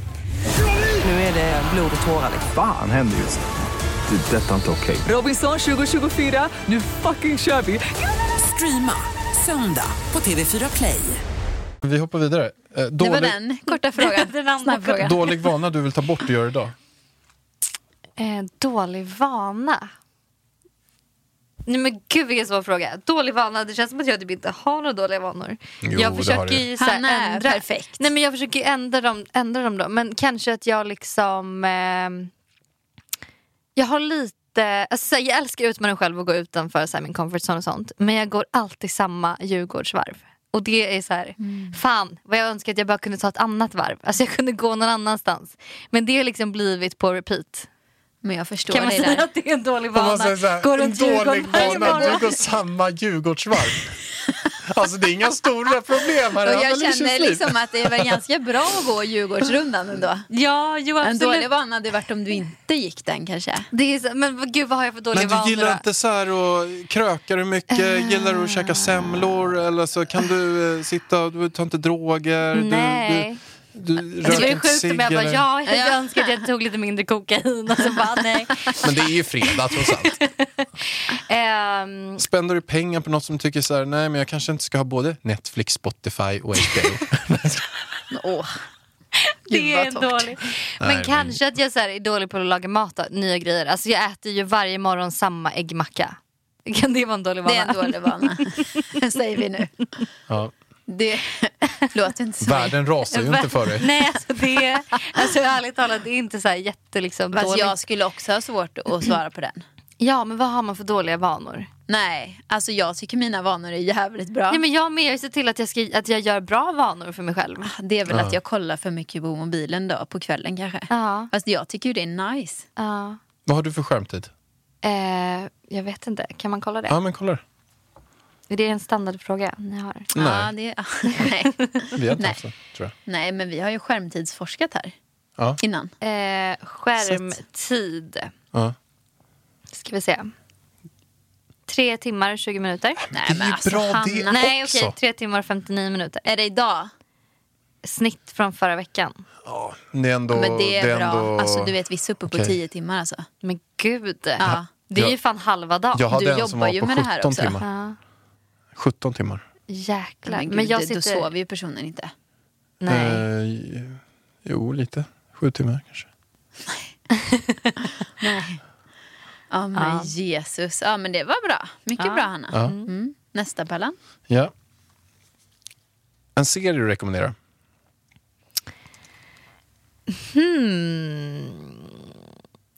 Nu är det blod och tårar. Fan händer just nu. Det. är Detta är inte okej. Robinson 2024, nu fucking kör vi! Streama söndag på TV4 Play. Vi hoppar vidare. Eh, Det var Dålig, den korta frågan. Den andra Snabb fråga. dålig vana du vill ta bort och göra idag? Eh, dålig vana? Nej men gud vilken svår fråga. Dålig vana, det känns som att jag typ inte har några dåliga vanor. Jo, jag det har försöker du. ju så här Hanna är ändra. perfekt. Nej men jag försöker ju ändra dem, ändra dem då. Men kanske att jag liksom... ehm, jag har lite... Alltså, så här, jag älskar att utmana mig själv och gå utanför så här, min comfort zone och sånt. Men jag går alltid samma Djurgårdsvarv. Och det är så här, fan vad jag önskar att jag bara kunde ta ett annat varv. Alltså jag kunde gå någon annanstans. Men det har liksom blivit på repeat. Men jag förstår Kan man dig säga där. att det är en dålig vana? Gå runt Djurgården varje morgon. samma Djurgårdsvarv. Alltså det är inga stora problem här Alltså, i Och Anna jag Lishers känner liv. liksom att det är väl ganska bra att gå Djurgårdsrundan ändå. Ja, jo En absolut. dålig vana hade varit om du inte gick den kanske. Det är så, men vad- gud vad har jag för dåliga Men vanor? du gillar då? inte så här och krökar hur mycket? Gillar du att Eh. käka semlor? Eller så kan du eh, sitta och du tar inte droger? Nej. Alltså, Du, Alltså, du, du Det var röker ju inte sjukt om cigg jag bara, eller- ja, jag önskar att jag tog lite mindre kokain och så bara nej. Men det är ju fredag trots allt. Ehm, Spenderar du pengar på något som du tycker så här, nej men jag kanske inte ska ha både Netflix, Spotify och HBO? Åh, det vad är torrt. dåligt. Men Nej, men- kanske att jag så här, är dålig på att laga mat då, nya grejer. Alltså jag äter ju varje morgon samma äggmacka. Kan det vara en dålig vana? det är en dålig vana. Säger vi nu. Ja. Det låter inte så. Världen rasar ju inte för dig. Nej, alltså det är, alltså ärligt talat, det är inte så här jätte liksom Fast dåligt. jag skulle också ha svårt att svara på den. Ja, men vad har man för dåliga vanor? Nej, alltså jag tycker mina vanor är jävligt bra. Nej, men jag med, jag ser till att jag, ska, att jag gör bra vanor för mig själv. Det är väl att jag kollar för mycket på mobilen då på kvällen kanske. Ja. Fast jag tycker ju det är nice. Ja. Vad har du för skärmtid? Eh, jag vet inte, kan man kolla det? Ja men kolla. Är det en standardfråga ni har? Nej. Ja, det, nej. Vi har inte Nej. haft det, tror jag. nej, men vi har ju skärmtidsforskat här Ja. innan. Eh, skärmtid. Ja. Ska vi se. Tre timmar 20 minuter. Nej, Det är ju alltså, bra det Hanna- också. Nej okej, tre timmar 59 minuter. Är det idag? Snitt från förra veckan. Det är ändå... men det är, bra. ändå- Alltså du vet, vi är uppe på Okej. tio timmar alltså. Men gud. Ja. Det är ju Jag- fan halva dagen. Jag hade du en som jobbar var ju på med det här 17 också. timmar. 17 timmar. Jäklar. Men, Men, gud, jag då sitter... sover ju personen inte. Nej. Eh, jo, lite. Sju timmar kanske. Ja men Jesus. Ja men det var bra. Mycket bra Hanna. Ja. Mm. Nästa Pallan. Ja. En serie du rekommenderar?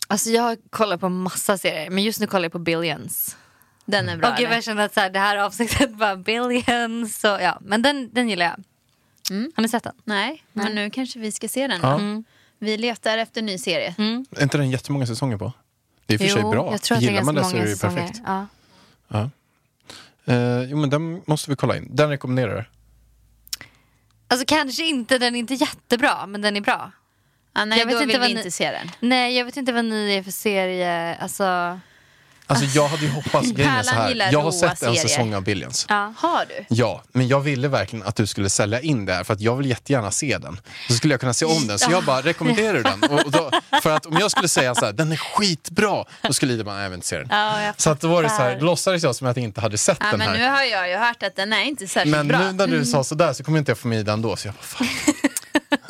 Alltså jag kollar på massa serier. Men just nu kollar jag på Billions. Den är bra. Och gud vad eller? jag känner att så här, det här avsnittet bara Billions. Så, ja. Men den, den gillar jag. Har ni sett den? Nej, men nu kanske vi ska se den. Ja. Mm. Vi letar efter ny serie. Är inte den jättemånga säsonger på? Det är i och för sig bra. jag tror att det är Gillar ganska man det många så är det ju säsonger. perfekt. Ja. Eh, jo, men den måste vi kolla in. Den rekommenderar jag. Alltså kanske inte, den är inte jättebra, men den är bra. Ah, nej, Jag vet då inte vill vad vi ni- inte se den. Nej, jag vet inte vad ni är för serie. Alltså, Alltså jag hade ju hoppats, grejen är så Pärlan gillar här. Jag råa har sett en serier. säsong av Billions. ja. Har du? Ja, men jag ville verkligen att du skulle sälja in det här för att jag vill jättegärna se den. Så skulle jag kunna se om den, så jag bara rekommenderar du den. Och, och då, för att om jag skulle säga så här, den är skitbra, då skulle Ida bara, "Nej, jag vill inte se den. Ja, jag så att då var det så här, fattar. låtsades jag som att jag inte hade sett Ja, den Ah, men här. nu har jag ju hört att den är inte särskilt Men bra. nu när du sa sådär så kommer inte jag få med Ida ändå. Så jag bara, fan,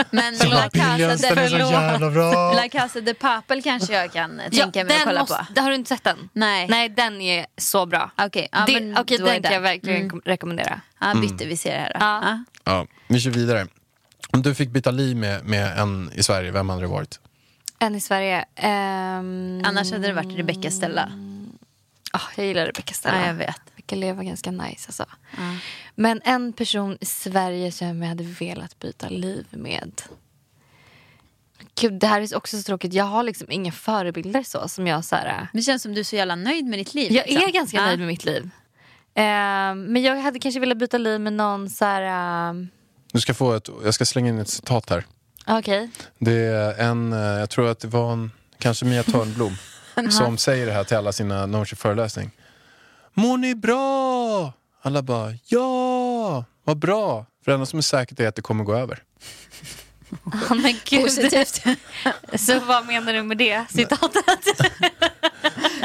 Men jag La bara, Casa, Billions, den är de... så jävla bra. La Casa de Papel kanske jag kan eh, tänka mig den att kolla på. måste- Har du inte sett den? Nej. Nej, den är så bra. Okej, ja, Det- men okej, då är den kan den. jag verkligen kom- rekommendera. Ja, Ah, Mm. bytte vi ser här då. Ah, Ja. Ja. Ja, vi kör vidare. Om du fick byta liv med, med en i Sverige, vem hade det varit? En i Sverige. ehm, Annars hade det varit Rebecca Stella. ah, jag gillar Rebecca Stella. Ja, jag vet. Rebecca Lee var ganska nice alltså. Men en person i Sverige som jag hade velat byta liv med. Gud, det här är också så tråkigt. Jag har liksom inga förebilder så som jag så här, äh, Det känns som du är så jävla nöjd med ditt liv. Jag liksom. är ganska Ja. nöjd med mitt liv. Eh, men jag hade kanske velat byta liv med någon så här... eh, Du ska få ett, jag ska slänga in ett citat här. Okej. Det är en, eh, jag tror att det var en, kanske Mia Törnblom som säger det här till alla sina när hon kör föreläsning. Mår ni bra? Alla bara ja, vad bra. För det enda som är säkert är att det kommer gå över. Ja, men gud. Ah, Positivt. Så vad menar du med det citatet?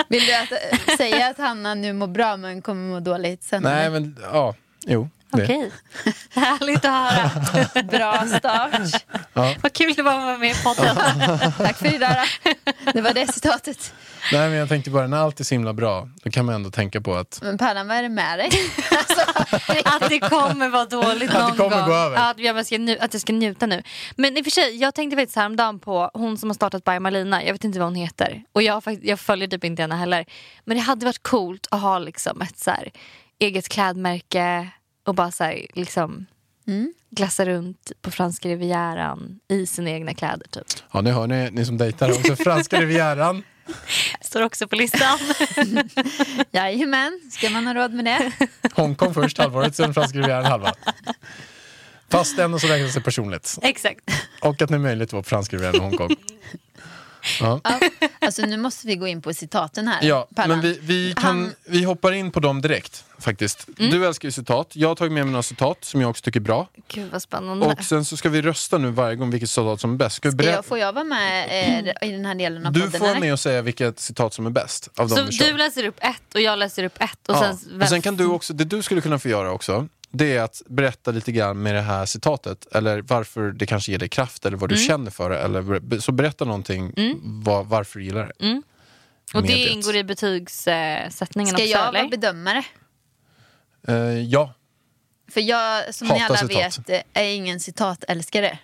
Vill du att, eh, säga att Hanna nu mår bra men kommer må dåligt sen? Nej men ja, jo. Det. Okej. Härligt att höra. Bra start. Vad kul det var att vara med i podden. Tack för idag då. Det var det citatet. Nej men jag tänkte bara när allt är så himla bra, då kan man ändå tänka på att Men Pallan, vad är det med dig? Att det kommer vara dåligt någon Att det kommer gång. gå över. Ja, Att jag, ska nu, att jag ska njuta nu. Men i och för sig, jag tänkte faktiskt häromdagen på hon som har startat By Marlina. Jag vet inte vad hon heter. Och jag, har fakt- jag följer typ inte henne heller. Men det hade varit coolt att ha liksom ett så här, eget klädmärke och bara så här, liksom glassa runt på franska rivieran i sina egna kläder. Typ. Ja, nu hör ni, ni som dejtar också, franska rivieran. Står också på listan. Jajamän, ska man ha råd med det? Hongkong först halvåret, sen franska rivieran halva. Fast ändå så räknas det personligt. Exakt. Och att det är möjligt att vara på franska rivieran och Hongkong. Ja. Ja. Alltså nu måste vi gå in på citaten här. Ja, Pallan. men vi, vi, kan, Han- vi hoppar in på dem direkt faktiskt. Du älskar ju citat. Jag har tagit med mig några citat som jag också tycker är bra. Gud vad spännande. Och sen så ska vi rösta nu varje gång vilket citat som är bäst. Ska vi Ska berä- jag, får jag vara med eh, i den här delen av du podden? får vara eller? med och säga vilket citat som är bäst av Så dem vi kör. du läser upp ett och jag läser upp ett. Och Ja. sen, och sen kan du också, det du skulle kunna få göra också, det är att berätta lite grann med det här citatet, eller varför det kanske ger dig kraft, eller vad du känner för det, eller, ber- så berätta någonting vad, varför du gillar det. och Med det ingår i betygssättningen Ska också jag vara eller? bedömare? Eh, ja, För jag, som ni Hatar alla citat. vet, eh, är ingen citatälskare.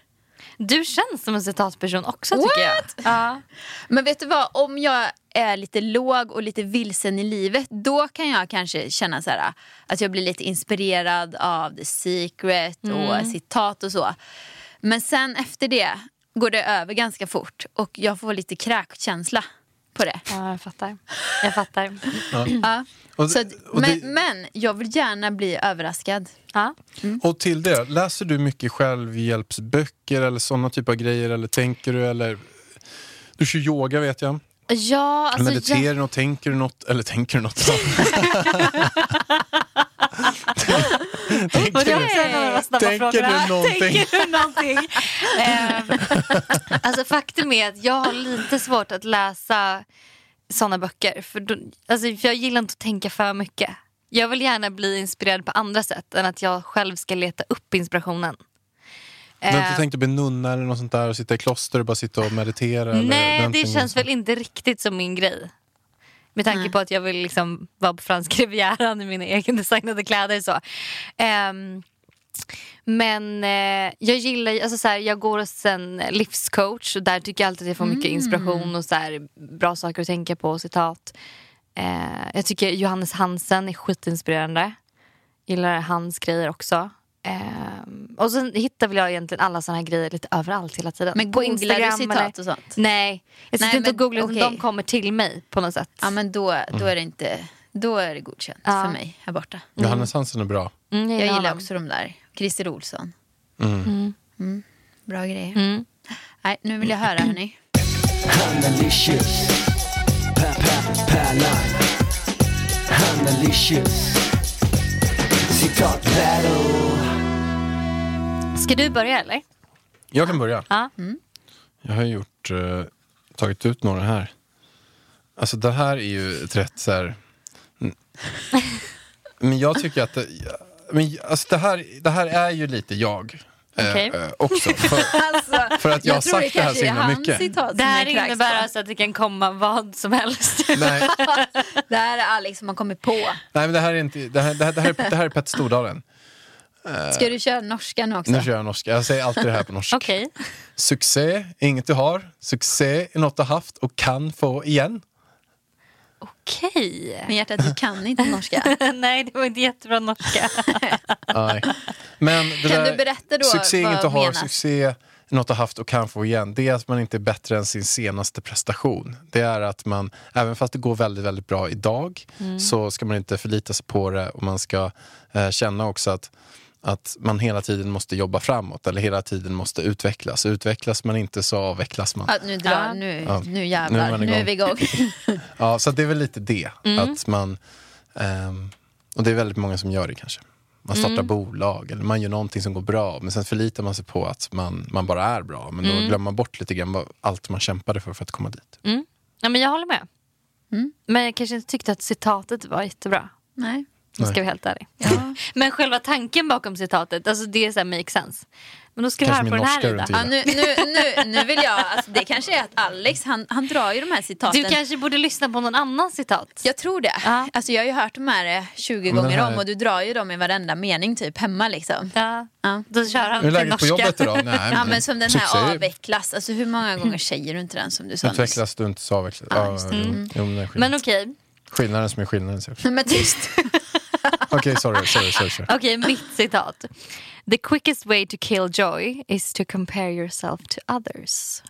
Du känns som en citatperson också tycker What? jag. Ja. Men vet du vad, om jag är lite låg och lite vilsen i livet då kan jag kanske känna så här, att jag blir lite inspirerad av The Secret och citat och så. Men sen efter det går det över ganska fort och jag får lite kräkkänsla på det. ja, jag fattar. Jag fattar. Ja. Och- Så, att- och men, det- men jag vill gärna bli överraskad. Ja. och till det, läser du mycket självhjälpsböcker eller sådana typer av grejer, eller tänker du, eller du kör yoga vet jag. Ja, alltså Mediterar jag, du något, tänker du något, eller tänker du något? Och det är också en av de snabba Tänker frågorna. du någonting? Tänker du någonting? Ehm, alltså faktum är att jag har lite svårt att läsa såna böcker. För, då, alltså, för jag gillar inte att tänka för mycket. Jag vill gärna bli inspirerad på andra sätt än att jag själv ska leta upp inspirationen. Du har Ehm, inte tänkt att bli nunna eller något sånt där och sitta i kloster och bara sitta och meditera? eller Nej, någonting det känns väl inte riktigt som min grej. Med tanke på att jag vill liksom vara på franska rivieran i mina egendesignade kläder. Så. Ehm, men eh, jag gillar ju- alltså så här, jag går hos en livscoach och där tycker jag alltid att jag får mycket Mm. inspiration och så här, bra saker att tänka på och citat. Eh, jag tycker Johannes Hansen är skitinspirerande. Gillar hans grejer också. Ehm, och sen hittar väl jag egentligen alla såna här grejer lite överallt hela tiden. Men På googlar du Instagram citat eller- och sånt? Nej, jag sitter Nej, inte och men googlar utan okej. de kommer till mig på något sätt. Ja men då, Mm. då är det inte, då är det godkänt för mig här borta. Johannes Hansen är bra. Mm, Jag gillar honom. också de där. Christer Olsson. Mm, Bra grejer. Nej, nu vill jag höra hörni. Hanalicious. Pa- pa- Pärlan. Hanalicious. Citat battle. Ska du börja eller? Mm. Jag kan börja. Ja. Jag har gjort, eh, tagit ut några här. Alltså det här är ju ett rätt så här... Mm. Men jag tycker att det, men, alltså, det, här, det här är ju lite jag. eh, Okej. eh, också. För, Alltså, för att jag, har sagt det här så himla mycket. Citat Det här innebär alltså att det kan komma vad som helst. Nej, alltså- det här är Alex som har kommit på. nej men det här är inte, det här, det här, det här, är- det här är Petter Stordalen. Ska du köra norskan nu också? Nu kör jag norska, jag säger alltid det här på norska. Okej. Succé är inget du har, succé är något du har haft och kan få igen. Okej. Men hjärtat, du kan inte norska. Nej, det var inte jättebra norska. Nej. Men det Kan där, du berätta då Succé vad inte har, menas? succé något har haft och kan få igen, det är att man inte är bättre än sin senaste prestation. Det är att man, även fast det går väldigt, väldigt bra idag, Mm. så ska man inte förlita sig på det och man ska eh, känna också att att man hela tiden måste jobba framåt eller hela tiden måste utvecklas. Utvecklas man inte så avvecklas man. Ja, nu drar, Ja. nu, Ja. nu Nu är jävlar. man Nu är, igång. vi igång. Ja, så att det är väl lite det. Mm. Att man, ehm, och det är väldigt många som gör det kanske. Man startar Mm. bolag eller man gör någonting som går bra men sen förlitar man sig på att man, man bara är bra men då Mm. glömmer man bort lite grann vad, allt man kämpade för för att komma dit. Ja, men jag håller med. Mm. Men jag kanske inte tyckte att citatet var jättebra. Nej. Om jag ska vara helt ärlig. Men själva tanken bakom citatet, alltså det är så här make sense. Men då ska Kanske du min höra på den norska här runt Ida. i. Ja, nu, nu, nu, nu vill jag, alltså, det kanske är att Alex, han, han drar ju de här citaten. Du kanske borde lyssna på någon annan citat. Jag tror det. Ja. Alltså, jag har ju hört de här eh, 20 den gånger här- om och du drar ju dem i varenda mening typ hemma liksom. Ja. Ja. Då kör han Hur är till läget norska. på jobbet idag? Nej, Ja men som den här succé. avvecklas, alltså hur många gånger säger du inte den som du sa nyss? Utvecklas du inte så avvecklas Ja, ja, just det. jo, jo, men det är skillnad. Mm. Men okej, Skillnaden som är skillnaden. säger jag. Nej, Men tyst. Okej, sorry. sorry, sorry, sorry. Okej, mitt citat. The quickest way to kill joy is to compare yourself to others.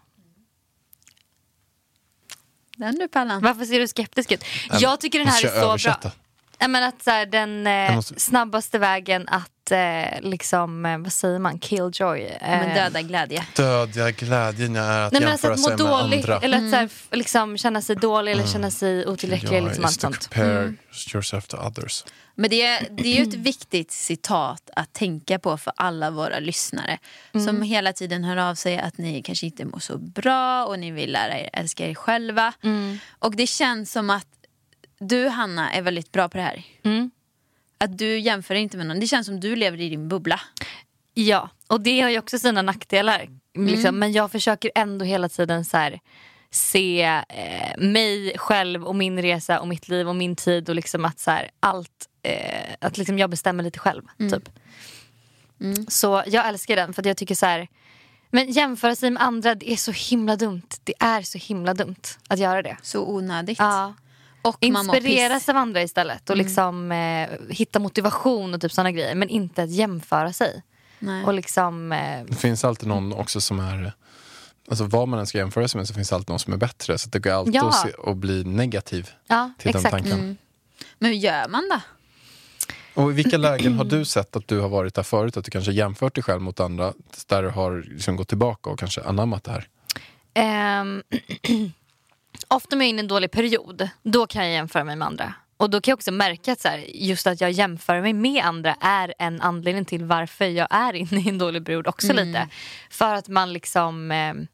Den du Pallan. Varför ser du skeptisk ut? Jag tycker den här måste är jag så översätta? bra. Nej, men att så här, den eh, Jag måste- snabbaste vägen att eh, liksom, eh, vad säger man, killjoy. Eh, Men döda glädje. Dödliga glädjen är att alltså, Nej, men alltså jämföra att sig må med dåligt andra. Mm. eller att så här, f- liksom, känna sig dålig eller känna sig otillräcklig. Joy liksom, is allt to sånt. compare yourself to others. Men det, är- det är ju ett viktigt citat att tänka på för alla våra lyssnare Mm. som hela tiden hör av sig att ni kanske inte mår så bra och ni vill lära er älska er själva. Mm. Och det känns som att du Hanna är väldigt bra på det här. Mm. Att du jämför inte med någon. Det känns som du lever i din bubbla. Ja, och det har ju också sina nackdelar. Mm. Liksom. Men jag försöker ändå hela tiden så här, se eh, mig själv och min resa och mitt liv och min tid och liksom att så här, allt, eh, att liksom jag bestämmer lite själv. Mm. Typ. Så jag älskar den för att jag tycker så här, men jämföra sig med andra det är så himla dumt. Det är så himla dumt att göra det. Så onödigt. Ja. Och man mår piss. Mm. Inspireras av andra istället och liksom, eh, hitta motivation och typ sådana grejer. Men inte att jämföra sig. Nej. Och liksom, eh, Det finns alltid någon också som är... Alltså vad man än ska jämföra sig med så finns det alltid någon som är bättre. Så det går alltid Ja. att, se, att bli negativ ja, till exakt. Mm. den tanken. Mm. Men hur gör man då? Och I vilka lägen har du sett att du har varit där förut? Att du kanske jämfört dig själv mot andra där du har liksom gått tillbaka och kanske anammat det här? Ehm, ofta om jag är inne i en dålig period, då kan jag jämföra mig med andra. Och då kan jag också märka att så här, just att jag jämför mig med andra är en anledning till varför jag är inne i en dålig period också lite. För att man liksom ehm,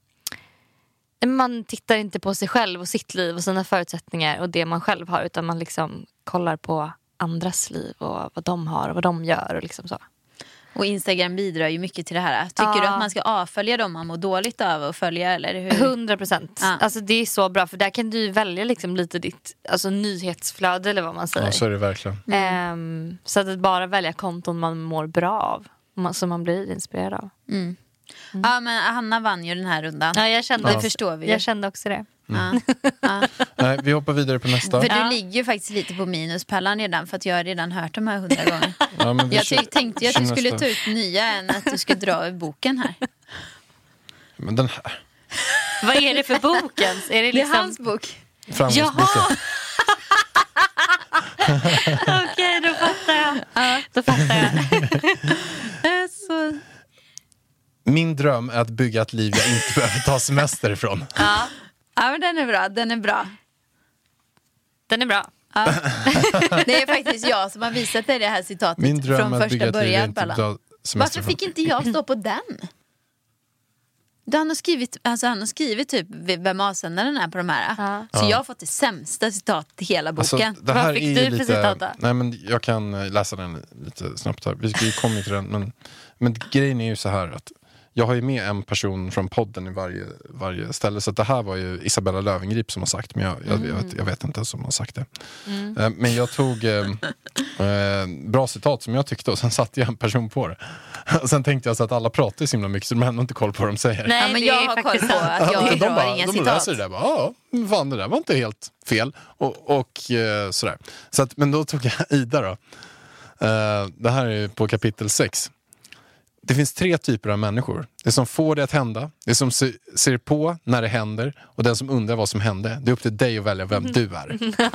man tittar inte på sig själv och sitt liv och sina förutsättningar och det man själv har utan man liksom kollar på andras liv och vad de har och vad de gör och liksom så. Och Instagram bidrar ju mycket till det här. Tycker Ja. du att man ska avfölja dem man mår dåligt av och följa eller hur? 100 procent. Ja. Alltså det är så bra för där kan du ju välja liksom lite ditt alltså, nyhetsflöde eller vad man säger. Ja, så är det verkligen. Ehm, så att bara välja konton man mår bra av. och man- Som man blir inspirerad av. Mm. Ja men Hanna vann ju den här rundan. Ja, jag kände, Det förstår vi ju. Jag kände också det. Ja. Nej, vi hoppar vidare på nästa. För Ja. du ligger ju faktiskt lite på minuspallan redan för att jag har redan hört de här hundra gånger. Ja, men vi Jag kör- ty- tänkte ju att du kör skulle nästa. ta ut nya än att du ska dra ur boken här. Men den här. Vad är det för bok ens? Är det Det liksom... är hans bok. Framgångsboken. Okej, då fattar jag. Då fattar jag. Eh, Så... Min dröm är att bygga ett liv jag inte behöver ta semester ifrån. Ja men den är bra, den är bra. Den är bra. Det är faktiskt jag som har visat dig det här citatet Min dröm från är att bygga första ett liv jag början. inte behöver Pallan. ta semester Varför ifrån. fick inte jag stå på den? Du, han, har skrivit, alltså han har skrivit typ vem avsändaren är på de här. Så jag har fått det sämsta citatet i hela Alltså, boken. det här Vad fick är ju du för lite, citat då? Nej, men jag kan eh, läsa den lite snabbt här. Vi vi kommer ju till den. Men, men grejen är ju så här att jag har ju med en person från podden i varje, varje ställe. Så att det här var ju Isabella Löwengrip som har sagt, men jag, jag, Mm. jag, vet, jag vet inte ens om hon har sagt det. Eh, Men jag tog eh, eh, bra citat som jag tyckte och sen satte jag en person på det. Och sen tänkte jag så att alla pratar ju så himla mycket så de har ändå inte koll på vad de säger. Nej, ja, men det jag är har koll faktiskt på sant. att jag de drar bara, inga de citat. läser det där bara, ja, fan det där var inte helt fel. Och, och eh, sådär. Så att, men då tog jag Ida då. Eh, det här är ju på kapitel 6. Det finns tre typer av människor. Det som får det att hända, det som se, ser på när det händer och den som undrar vad som hände. Det är upp till dig att välja vem Mhm. du är.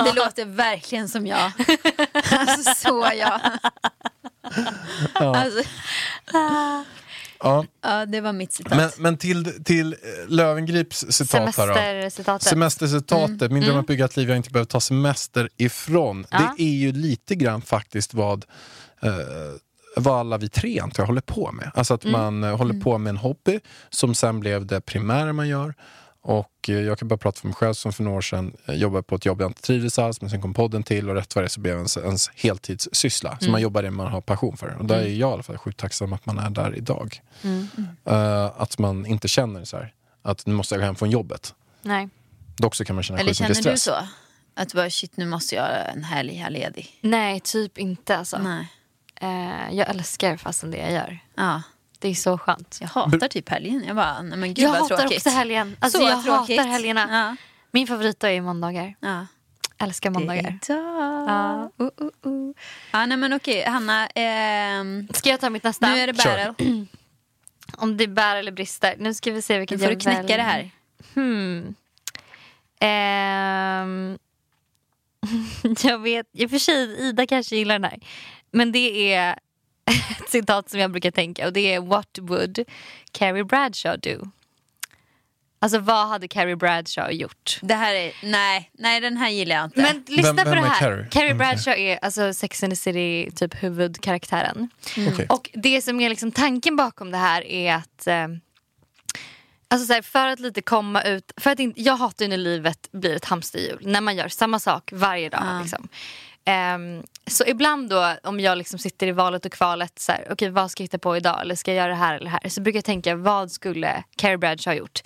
Det låter verkligen som jag. Alltså så jag. Alltså, Ja. ja, det var mitt citat. Men, men till, till Lövengrips citat här då. Semestercitatet. Semestercitatet, min dröm är att bygga ett liv jag inte behöver ta semester ifrån. Det är ju lite grann faktiskt vad, eh, vad alla vi tre antar jag håller på med. Alltså att man eh, håller på med en hobby som sen blev det primära man gör. Och eh, jag kan bara prata för mig själv som för några år sedan eh, jobbade på ett jobb jag inte trivdes alls men sen kom podden till och rätt vad det är så blev ens, ens heltidssyssla. Så man jobbar det man har passion för. Och där är jag i alla fall sjukt tacksam att man är där idag. Eh, att man inte känner så här att nu måste jag gå hem från jobbet. Nej. Dock så kan man känna Eller skit mycket känner du stress. så? Att bara shit nu måste jag ha en helg här ledig. Nej, typ inte alltså. Nej. Eh, jag älskar fastän det jag gör. Ja. Det är så skönt. Jag hatar typ helgen. Jag bara, nej men gud jag vad hatar tråkigt. också helgen. Alltså, Så jag tråkigt. hatar helgerna. Ja. Min favoritdag är måndagar. Ja. Älskar måndagar. Oh, Ja. Uh, uh, uh. ja, nej men okej Hanna. ehm, Ska jag ta mitt nästa? nu är det battle. Om det bär eller brister. Nu ska vi se Nu vilket får du jag knäcka väljer. det här. Eh, Jag vet, i och för sig Ida kanske gillar den här. Men det är ett citat som jag brukar tänka och det är What would Carrie Bradshaw do? Alltså vad hade Carrie Bradshaw gjort? Det här är, nej, nej den här gillar jag inte. Men lyssna Vem- på vem det är här. Carrie? Carrie, Vem är Bradshaw är alltså Sex and the City typ huvudkaraktären. Mm. Okej. Mm. Och det som är liksom tanken bakom det här är att eh, Alltså så här, för att lite komma ut, för att inte, jag hatar ju när livet blir ett hamsterhjul. När man gör samma sak varje dag. Liksom. Ehm, så ibland då om jag liksom sitter i valet och kvalet, så här, okej, vad ska jag hitta på idag eller ska jag göra det här eller det här? Så brukar jag tänka vad skulle Carrie Bradshaw ha gjort?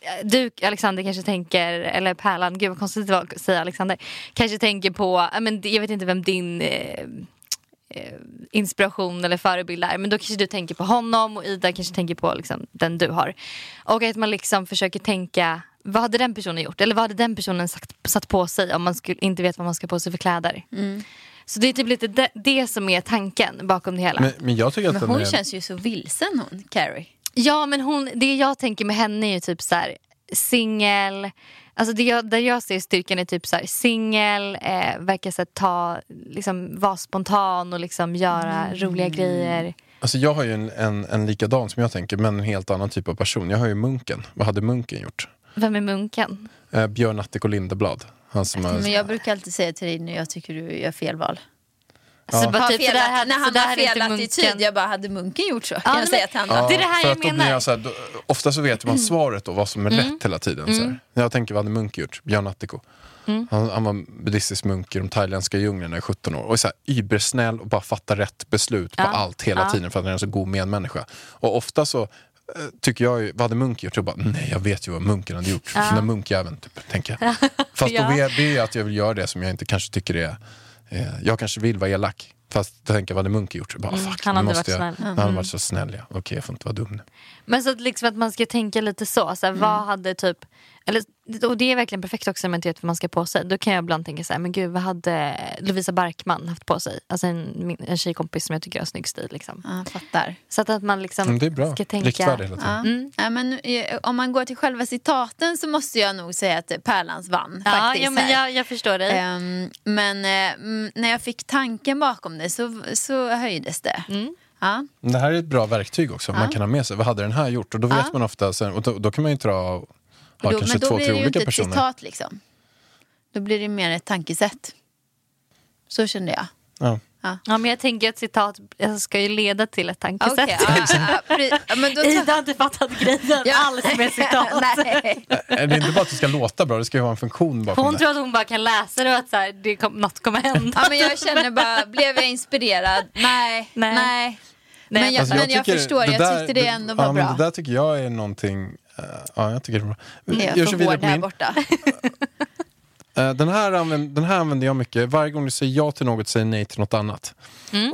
Eh, Du Alexander kanske tänker, eller Pärlan, gud vad konstigt det var att säga Alexander. Kanske tänker på, ja, men, jag vet inte vem din eh, inspiration eller förebild är. Men då kanske du tänker på honom och Ida kanske tänker på liksom, den du har. Och att man liksom försöker tänka vad hade den personen gjort? Eller vad hade den personen sagt, satt på sig om man skulle, inte vet vad man ska ha på sig för kläder? Så det är typ lite det, det som är tanken bakom det hela. Men, men jag tycker att Men den hon är... känns ju så vilsen hon, Carrie. Ja men hon, det jag tänker med henne är ju typ så här singel. Alltså det jag, där jag ser styrkan är typ så här singel, eh, verkar så här, ta, liksom, vara spontan och liksom göra roliga grejer. Alltså jag har ju en, en, en likadan som jag tänker, men en helt annan typ av person. Jag har ju Munken. Vad hade Munken gjort? Vem är munken? Eh, Björn Attiko Lindeblad. Han som har... Alltså, Men jag brukar alltid säga till dig när jag tycker du gör fel val. Så bara, Har typ, fel, så där hade- när så han där har hade fel inte attityd, munken- jag bara hade munken gjort så? kan nej, jag säga men- till honom. Ja, Det är det här för jag att då menar. Mm. Blir jag så här, då, ofta så vet man svaret och vad som är rätt hela tiden. Så här. Jag tänker vad hade Munk gjort? Björn Attiko. Mm. Han, han var buddhistisk munk i de thailändska djunglerna i 17 år och är så här, ybersnäll och bara fattar rätt beslut på allt hela tiden för att han är en så god medmänniska. Och ofta så eh, tycker jag ju, vad hade Munk gjort? Jag bara, nej jag vet ju vad munken hade gjort. Den där munkjäveln, typ, tänker jag. Fast då Ja. vet det är ju att jag vill göra det som jag inte kanske tycker är... Eh, jag kanske vill vara elak. Fast då tänker jag, vad hade Munk gjort? Jag Bara, Mm, fuck, han nu hade måste varit jag, snäll. Han hade varit så snäll ja. Okej, jag får inte vara dum nu. Men så att, liksom att man ska tänka lite så. så här, Vad hade typ... Eller, och det är verkligen perfekt också om man inte vet vad man ska ha på sig. Då kan jag ibland tänka så här, men gud vad hade Lovisa Barkman haft på sig? Alltså en, min- en tjejkompis som jag tycker har snygg stil. Liksom. Ja, jag fattar. Så att, att man liksom Mm, det är bra. ska tänka... Riktvärde hela tiden. Ja. Ja, men, eh, om man går till själva citaten så måste jag nog säga att eh, Pärlans vann. Ja, faktiskt, ja men här. jag, jag förstår dig. Ehm, men eh, mm, när jag fick tanken bakom det så, så höjdes det. Ja. Men Det här är ett bra verktyg också. Man kan ha med sig. Vad hade den här gjort? Och då vet man ofta, sen, och då, då kan man ju dra av ha då, kanske men då två, blir det tre ju olika inte ett personer. citat liksom. Då blir det mer ett tankesätt. Så kände jag. Ja. Ja, men jag tänker att citat alltså, ska ju leda till ett tankesätt. Okej, ja, ja, ja, pre- ja, men då tar- Ida har inte fattat grejen Ja. alls med citat. Nej. Det är inte bara att det ska låta bra, det ska ju vara en funktion bakom Hon det. tror att hon bara kan läsa det och att så här, det kom, något kommer hända. Ja, men jag känner bara, blev jag inspirerad? Nej. nej. Nej. Men jag, Alltså, men jag tycker förstår, det jag tyckte det ändå var ja, bra. Men det där tycker jag är någonting... eh, ja, jag tycker det är bra. Är Mm, Gör jag så för vidare hård på här min. borta? Eh, Den här, använder, den här använder jag mycket. Varje gång du säger ja till något säger nej till något annat.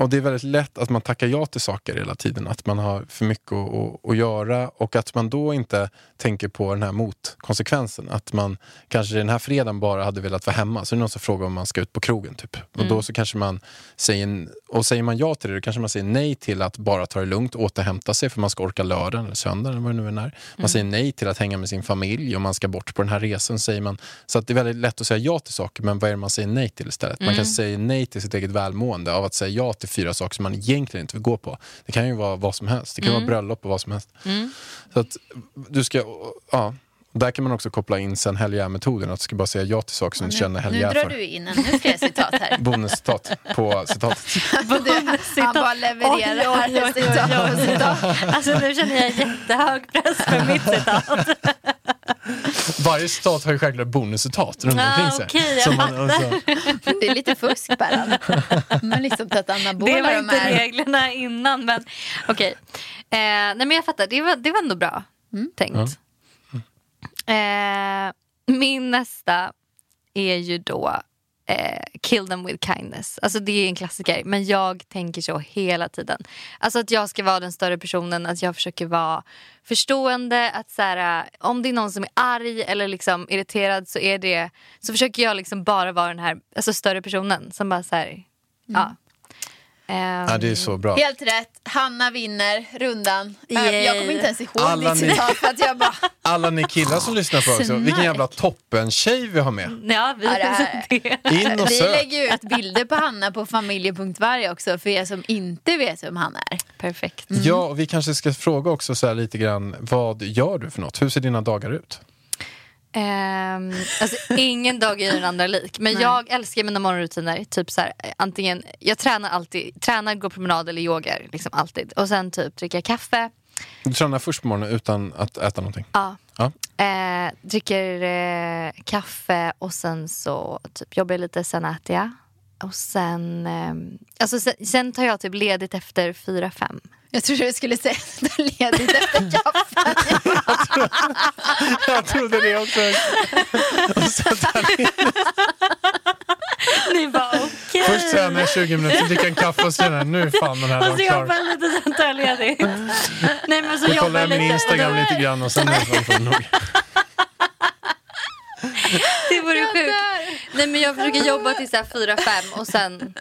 Och Det är väldigt lätt att man tackar ja till saker hela tiden. Att man har för mycket att, att, att göra och att man då inte tänker på den här motkonsekvensen. Att man kanske den här fredagen bara hade velat vara hemma. Så är det någon som frågar om man ska ut på krogen. Typ. Och då så kanske man säger, och säger man ja till det, då kanske man säger nej till att bara ta det lugnt, återhämta sig för man ska orka lördagen eller söndagen eller vad det nu än är. Man Mm. säger nej till att hänga med sin familj och man ska bort på den här resan. Säger man. Så att det är väldigt lätt att säga ja till saker, men vad är det man säger nej till istället? Man Mm. kan säga nej till sitt eget välmående av att säga ja till fyra saker som man egentligen inte vill gå på. Det kan ju vara vad som helst. Det kan Mm. vara bröllop och vad som helst. Så att du ska, ja. Där kan man också koppla in sen helgär-metoden, att du ska bara säga ja till saker som du känner Nu helgär drar för. du in ännu fler citat här. Bonuscitat på citatet. Han bara levererar Alltså, Oj, oj, oj, oj, citat på oj. citat. Alltså nu känner jag jättehög press för mitt citat. Varje citat har ju självklart bonuscitat runt Ah, omkring sig. okej, jag Som man, alltså, Det är lite fusk Berran. Men liksom tagit Det anabola var de inte här. reglerna innan men okej. Eh, nej men jag fattar, det var, det var ändå bra Mm. tänkt. Eh, min nästa är ju då eh, Kill them with kindness. Alltså det är en klassiker men jag tänker så hela tiden. Alltså att jag ska vara den större personen, att jag försöker vara förstående. Att så här, eh, om det är någon som är arg eller liksom irriterad så, är det, så försöker jag liksom bara vara den här alltså större personen som bara så här, ja, Ehm, Ja, det är så bra. Helt rätt, Hanna vinner rundan. Äh, Yay. Jag kommer inte ens ihåg Alla ditt ni- citat för att jag bara, Alla ni killar som lyssnar på också, vilken jävla toppen-tjej vi har med. Ja, vi, Ja, det här- det. In och vi sök. lägger ju ut bilder på Hanna på familje.varg också för er som inte vet vem han är. Perfekt. Ja, och vi kanske ska fråga också så här lite grann, vad gör du för något? Hur ser dina dagar ut? Ehm, alltså, ingen dag är ju den andra lik. Men jag älskar mina morgonrutiner. Typ så här, eh, antingen, jag tränar alltid. Tränar, går promenad eller yogar. Liksom alltid. Och sen typ dricker jag kaffe. Du tränar först på morgonen utan att äta någonting? Ja. Ja. Eh, dricker eh, kaffe och sen så typ, jobbar jag lite, sen äter jag. Och sen, ehm, alltså sen, sen tar jag typ ledigt efter fyra fem Jag trodde du skulle säga att det är ledigt efter kaffet. Jag trodde det också. Ni bara okej. Först tränar jag 20 minuter, dricker en kaffe och sen är nu är fan den här dagen Och så jobbar klar. jag lite, sen tar jag ledigt. Nej, men så Nu jobbar kollar jag jag min lite. Instagram lite grann och sen är det fan fan nog. Det vore sjukt. Nej, men jag försöker jobba till så här fyra, fem och sen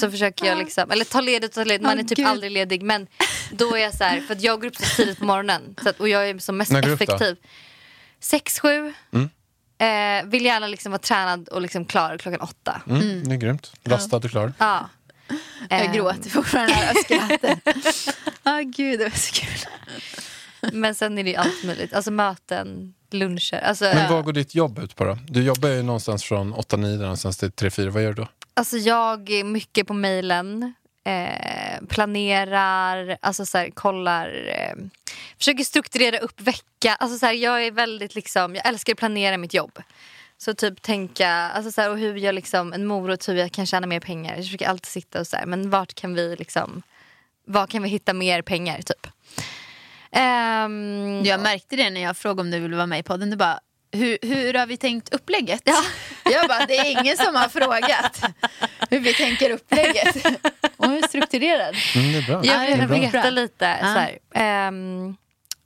så försöker jag liksom, eller ta ledigt och ta ledigt. Man är Åh, typ Gud. aldrig ledig men då är jag så här, för att jag går upp så tidigt på morgonen så att, och jag är som mest När går du upp då? Mm. effektiv. Sex, sju. Eh, vill gärna liksom vara tränad och liksom klar klockan åtta. Mm, det är grymt. Lastad och klar. Ja. Jag Ehm, gråter fortfarande här av skrattet. Ah gud, det var så kul. Eh, Men sen är det ju allt möjligt. Alltså möten, luncher. Alltså, Men vad går ditt jobb ut på då? Du jobbar ju någonstans från 8-9 där någonstans till 3-4. Vad gör du då? Alltså jag är mycket på mejlen. Eh, planerar, alltså så här, kollar, eh, försöker strukturera upp vecka. Alltså så här, jag är väldigt liksom, jag älskar att planera mitt jobb. Så typ tänka, alltså så här, och hur jag liksom, en morot, hur jag kan tjäna mer pengar. Jag försöker alltid sitta och så här, men vart kan vi liksom, var kan vi hitta mer pengar typ. Ehm, Jag märkte det när jag frågade om du ville vara med i podden. Du bara, hur, hur har vi tänkt upplägget? Jag bara, det är ingen som har frågat hur vi tänker upplägget. Hon är strukturerad. Mm, det är bra. Jag det är vill bra. veta lite. Ja. Så här. Ehm,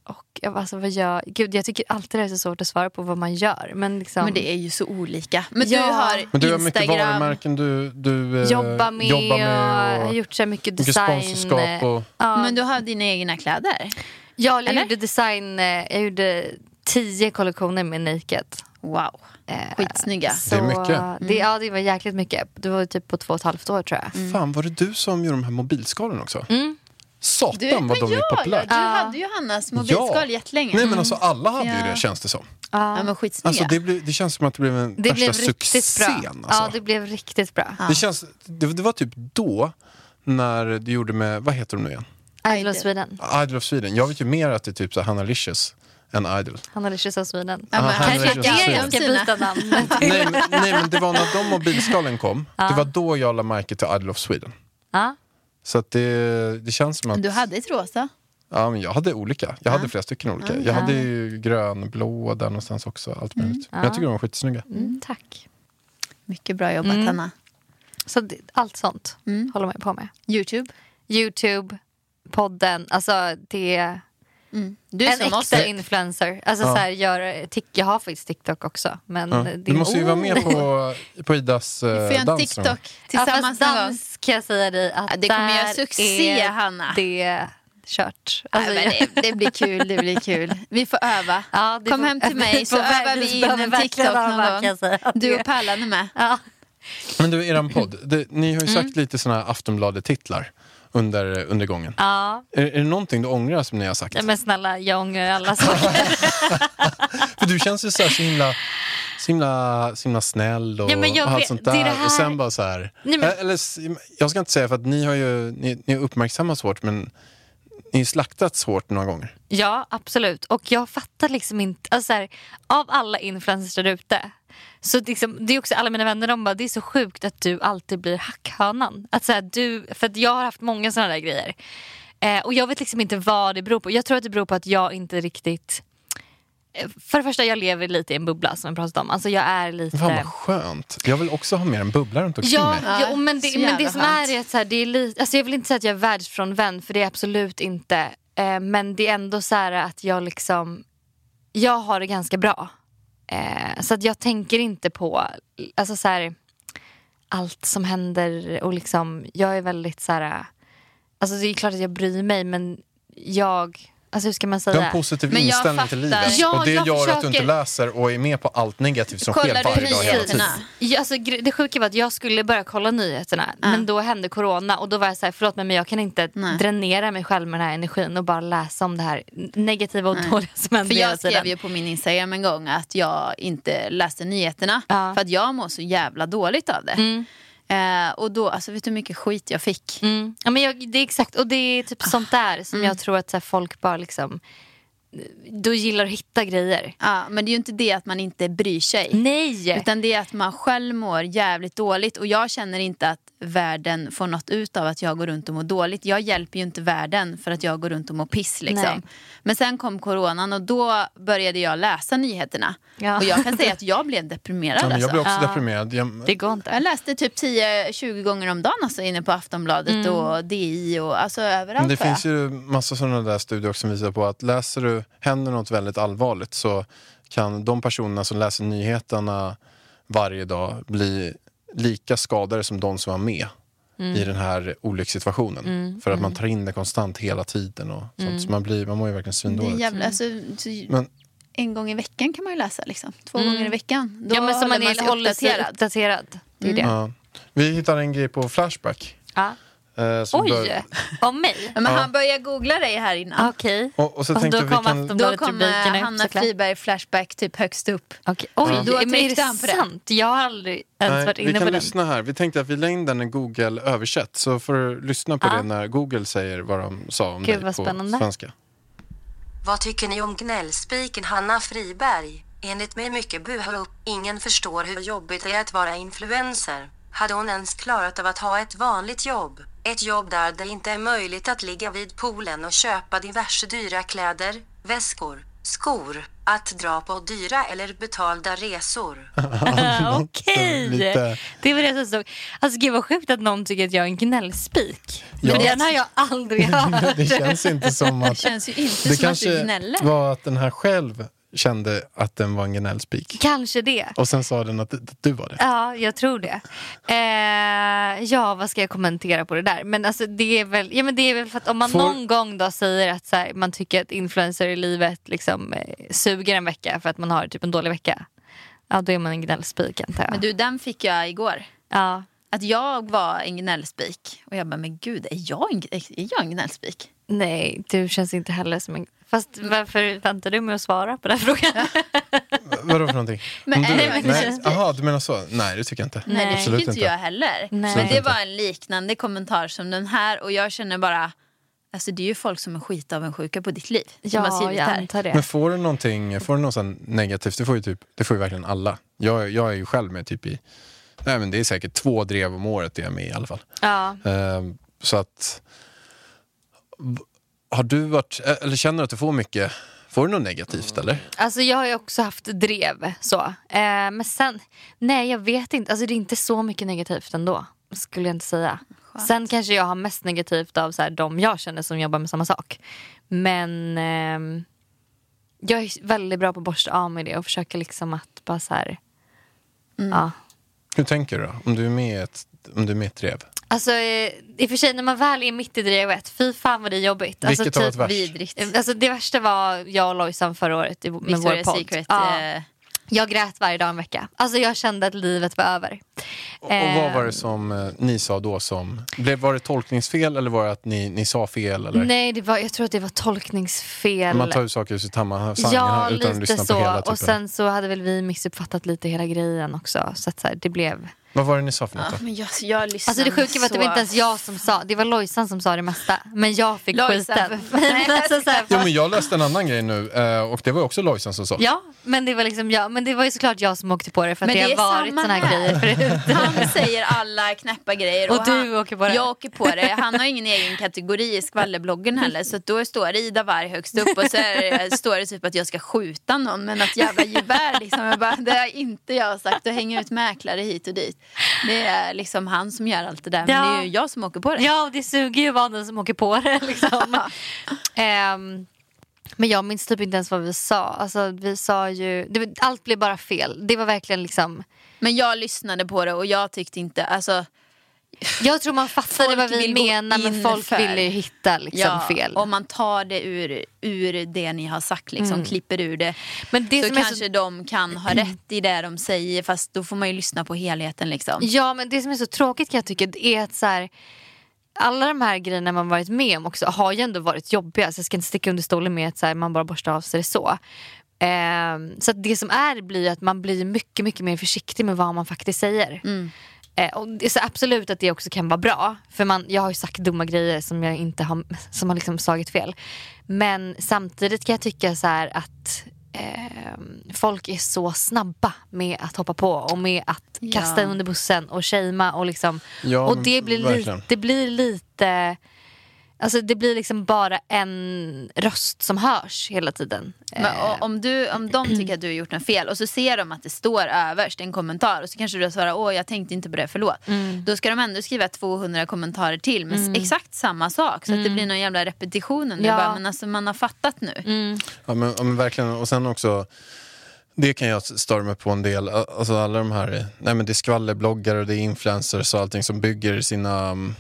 och jag, alltså, vad jag, gud, jag tycker alltid det är så svårt att svara på vad man gör. Men, liksom, Men det är ju så olika. Men Ja. du har Men du har mycket Instagram. varumärken du, du eh, jobba med, jobbar med och, har gjort så här mycket mycket design. sponsorskap. Och, Ja. Men du har dina egna kläder. ja, jag eller? gjorde design, eh, jag gjorde tio kollektioner med Naked. Wow, Eh, skitsnygga. Så, mycket. Det, ja, det var jäkligt mycket. Det var ju typ på två och ett halvt år tror jag. Fan, var det du som gjorde de här mobilskalen också? Du, Satan vad men de är ja, ja, populära. du Ah. hade ju Hannas mobilskal jättelänge. Nej men alltså alla hade ju Ja. det känns det som. ja, men skitsnygga. Alltså, det, blev, det känns som att det blev en Det värsta blev riktigt bra. succén. Alltså. Ja, det blev riktigt bra. det, känns, det, det var typ då när du gjorde med, vad heter de nu igen? Idol of Sweden. Idol of Sweden. Jag vet ju mer att det är typ så här Hanna Licious än Idol. Han hade kyssat Sweden. Ja, men Aha, han det är kanske just är det. en Jag av ska sina. byta namn. nej, men, nej men det var när de mobilskalen kom, det var då jag la märke till Idol of Sweden. Ja. Så att det, det känns som att Du hade ett rosa. ja, men jag hade olika. Jag hade flera stycken olika. Jag hade ju grön, blå där någonstans också. Allt möjligt. Men jag tycker de var skitsnygga. Mm, tack. Mycket bra jobbat Mm. Hanna. Så det, allt sånt håller man ju på med. Youtube. Youtube, podden, alltså det är Du en äkta influencer. Alltså så här, gör, tick, jag har faktiskt TikTok också. Men Ja. det, Du måste ju vara med på, på Idas Vi eh, får göra en dans någon gång. TikTok Ja, tillsammans fast någon gång. dans kan jag säga dig att Ja, det kommer göra där succé, är Hanna. det kört. Ja, Alltså, men jag- det, det blir kul, det blir kul. Vi får öva. Ja, det Kom får- hem till mig vi så får övar verkligen- vi in behöver en TikTok verkligen öva, någon kan jag säga. gång. Du och Pärlan är med. ja. Men du, eran podd. Det, ni har ju sagt lite såna här Aftonbladet-titlar under, under gången. Ja. Är, är det någonting du ångrar som ni har sagt? ja, men snälla jag ångrar alla saker. För du känns ju så, här, så himla... Så himla, så himla snäll och, Ja, men jag och allt vet, sånt det där. är det här- Och sen bara så här... Nej, men- Eh, Eller, s- jag ska inte säga för att ni har ju ni, ni har uppmärksammats hårt men ni har slaktats hårt några gånger. Ja, absolut. Och jag fattar liksom inte, alltså så här, av alla influencers där ute, så liksom, det är också alla mina vänner, de bara, det är så sjukt att du alltid blir hackhönan. Att så här, du, för att jag har haft många sådana där grejer. Eh, och jag vet liksom inte vad det beror på. Jag tror att det beror på att jag inte riktigt... eh, För det första, jag lever lite i en bubbla som jag pratat om. Alltså jag är lite... Fan vad skönt. Jag vill också ha med en bubbla runt omkring Ja, mig. mig. ja men, Så det, men jävla det som skönt. är är att så här, det är lite, alltså jag vill inte säga att jag är världsfrånvänd för det är jag absolut inte. Eh, men det är ändå så här att jag liksom, jag har det ganska bra. Eh, så att jag tänker inte på, alltså så här, allt som händer och liksom, jag är väldigt så här... Alltså det är klart att jag bryr mig men jag, alltså hur ska man Du har säga? en positiv Men jag inställning till fattar. livet. Ja, och det jag gör att du inte försöker- läser och är med på allt negativt som sker Kollar du varje dag hela tiden. nyheterna? Ja, alltså, gre- det sjuka var att jag skulle börja kolla nyheterna men då hände corona och då var jag så här, förlåt mig men jag kan inte Nej. dränera mig själv med den här energin och bara läsa om det här negativa och dåliga som händer För hela jag tiden. skrev ju på min Instagram en gång att jag inte läste nyheterna Ja. för att jag mår så jävla dåligt av det. Eh, och då, alltså vet du hur mycket skit jag fick? Mm. Ja, men jag, det är exakt, och det är Ah. typ sånt där som Mm. jag tror att så här, folk bara liksom, då gillar att hitta grejer. Ja, men det är ju inte det att man inte bryr sig. Nej! Utan det är att man själv mår jävligt dåligt och jag känner inte att världen får något ut av att jag går runt och mår dåligt. Jag hjälper ju inte världen för att jag går runt och mår piss Nej. liksom. Men sen kom coronan och då började jag läsa nyheterna. Ja. Och jag kan säga att jag blev deprimerad Ja, men jag alltså. blir också deprimerad. Jag, det går inte. Jag läste typ 10-20 gånger om dagen alltså, inne på Aftonbladet Mm. och DI och alltså överallt. Men det var jag. finns ju massa sådana där studier som visar på att läser du, händer något väldigt allvarligt så kan de personerna som läser nyheterna varje dag bli lika skadade som de som var med Mm. i den här olyckssituationen. För att man tar in det konstant hela tiden och sånt. Så man, blir, man mår ju verkligen Mm. det är svindåligt. jävla, alltså, så, Men en gång i veckan kan man ju läsa liksom. Två gånger i veckan. Mm. Då Ja, men så håller man, är, sig håller sig uppdaterad. Mm. uppdaterad. Det är ju det. ja. Vi hittade en grej på Flashback. Ja. eh, som bör- Oj! Om mig? Men han börjar googla dig här innan. Okej. och, och så Och tänkte då vi kom kan... Då Aftonbladet kom eh, rubrikerna upp Hanna såklart. Friberg Flashback typ högst upp. Okej. Oj, Då men är det tryckte han på det. sant? Jag har aldrig ens Nej, varit vi inne på kan den. lyssna här. Vi tänkte att vi lägger in den i Google översätt. Så får du lyssna på det när Google säger vad de sa om Gud, dig vad på spännande. svenska. Vad tycker ni om gnällspiken Hanna Friberg? Enligt mig mycket buha upp. Ingen förstår hur jobbigt det är att vara influencer. Hade hon ens klarat av att ha ett vanligt jobb? Ett jobb där det inte är möjligt att ligga vid poolen och köpa diverse dyra kläder, väskor, skor, att dra på dyra eller betalda resor. Ah, Okej! Lite- Det var det som stod. Alltså gud vad sjukt att någon tycker att jag är en gnällspik. Ja. För den har jag aldrig hört. Det känns inte som att... Känns ju inte Det som att du kanske gnäller. var att den här själv kände att den var en gnällspik. Kanske det. Och sen sa den att att du var det. Ja, jag tror det. Eh, ja, vad ska jag kommentera på det där? Men alltså, det, är väl, ja, men det är väl för att om man Får- någon gång då säger att så här, man tycker att influencer i livet liksom, eh, suger en vecka för att man har typ en dålig vecka. Ja, då är man en gnällspik antar jag. Men du, den fick jag igår. ja. Att jag var en gnällspik. Och jag bara, men gud, är jag en, är jag en gnällspik? Nej, du känns inte heller som en... Fast varför väntar du med att svara på den här frågan? Vadå för någonting? Men Om är du, det verkligen nej, gnällspik? Jaha, du menar så? Nej, det tycker jag inte. Nej, det Absolut fick inte jag heller. Nej. Men det Absolut var en liknande kommentar som den här. Och jag känner bara, alltså det är ju folk som är skitavundsjuka på ditt liv. Som har ja, skrivit jag här. antar det. Men får du någonting, får du något sånt negativt, det får ju, typ, det får ju verkligen alla. Jag, jag är ju själv med typ i, nej men det är säkert två drev om året det jag är med i i alla fall. Ja. Ehm, så att, v- har du varit, eh, eller känner du att du får mycket, får du något negativt eller? Alltså jag har ju också haft drev så. Eh, men sen, nej jag vet inte. Alltså det är inte så mycket negativt ändå. Skulle jag inte säga. Sen kanske jag har mest negativt av så här, de jag känner som jobbar med samma sak. Men ehm, jag är väldigt bra på att borsta av mig det och försöka liksom att bara så här. Ja. Hur tänker du då? Om du är med i ett, om du är med i ett drev? Alltså eh, i och för sig när man väl är mitt i drevet, fy fan vad det är jobbigt. Alltså, Vilket har varit värst? typ Vidrigt. Alltså det värsta var jag och Lojsan förra året i, med vår Victoria's podd. Secret. Ja. eh, Jag grät varje dag en vecka. Alltså jag kände att livet var över. Och, och vad var det som eh, ni sa då som, blev, var det tolkningsfel eller var det att ni, ni sa fel? Eller? Nej, det var, jag tror att det var tolkningsfel. Man tar ju saker ur sitt sammanhang ja, utan att lite lyssna på hela så. typen. Och sen så hade väl vi missuppfattat lite hela grejen också. Så att så här, det blev... Vad var det ni sa för något då? men jag, jag lyssnade Alltså det sjuka var att det var så- inte ens jag som sa, det var Lojsan som sa det mesta. Men jag fick Lojsan, skiten. för fan. Men, alltså, så här, Jo, men jag läste en annan grej nu eh, och det var ju också Lojsan som sa. Ja, men det var liksom jag. Men det var ju såklart jag som åkte på det för att Men det, det har är varit samma såna här här. grejer förut. Han säger alla knäppa grejer. Och du han, åker på det. Jag åker på det. Han har ingen egen kategori i skvallerbloggen heller. Så att då står det Ida Warg högst upp och så är, det- står det typ att jag ska skjuta någon med något jävla gevär. Liksom. Jag bara, det har inte jag sagt. Och hänga ut mäklare hit och dit. Det är liksom han som gör allt det där. Men Ja. det är ju jag som åker på det. Ja, och det suger ju att vara den som åker på det. Liksom. Ehm, Men jag minns typ inte ens vad vi sa. Alltså, vi sa ju, det, var- allt blev bara fel. Det var verkligen liksom... Men jag lyssnade på det och jag tyckte inte, alltså Jag tror man fattade Folk vad vi vill gå menade men in folk för. ville ju hitta liksom, fel. om man tar det ur, ur det ni har sagt, liksom, klipper ur det, Mm. Men det så som är så- Mm. kanske de kan ha rätt i det de säger fast då får man ju lyssna på helheten. Liksom. Ja, men det som är så tråkigt kan jag tycka det är att så här, alla de här grejerna man varit med om också har ju ändå varit jobbiga. Så jag ska inte sticka under stolen med att så här, man bara borstar av sig det så. Ehm, så att det som är blir att man blir mycket, mycket mer försiktig med vad man faktiskt säger. Mm. Eh, och det är så absolut att det också kan vara bra. För man, jag har ju sagt dumma grejer som jag inte har, som har liksom slagit fel. Men samtidigt kan jag tycka så här att ehm, folk är så snabba med att hoppa på och med att kasta under bussen och shamea och liksom. Ja, och men det blir, verkligen. li, det blir lite, alltså det blir liksom bara en röst som hörs hela tiden. Men, o- om, du, om de tycker att du har gjort något fel och så ser de att det står överst en kommentar och så kanske du svarar åh jag tänkte inte på det, förlåt. Mm. Då ska de ändå skriva 200 kommentarer till med s- exakt samma sak så att det blir någon jävla repetition. Mm. Ja. Mm. Ja. Bara, men alltså man har fattat nu. Ja, men, ja, men verkligen. Och sen också, det kan jag störa mig på en del. Alltså alla de här, nej men det är skvallerbloggare och det är influencers och allting som bygger sina, mm,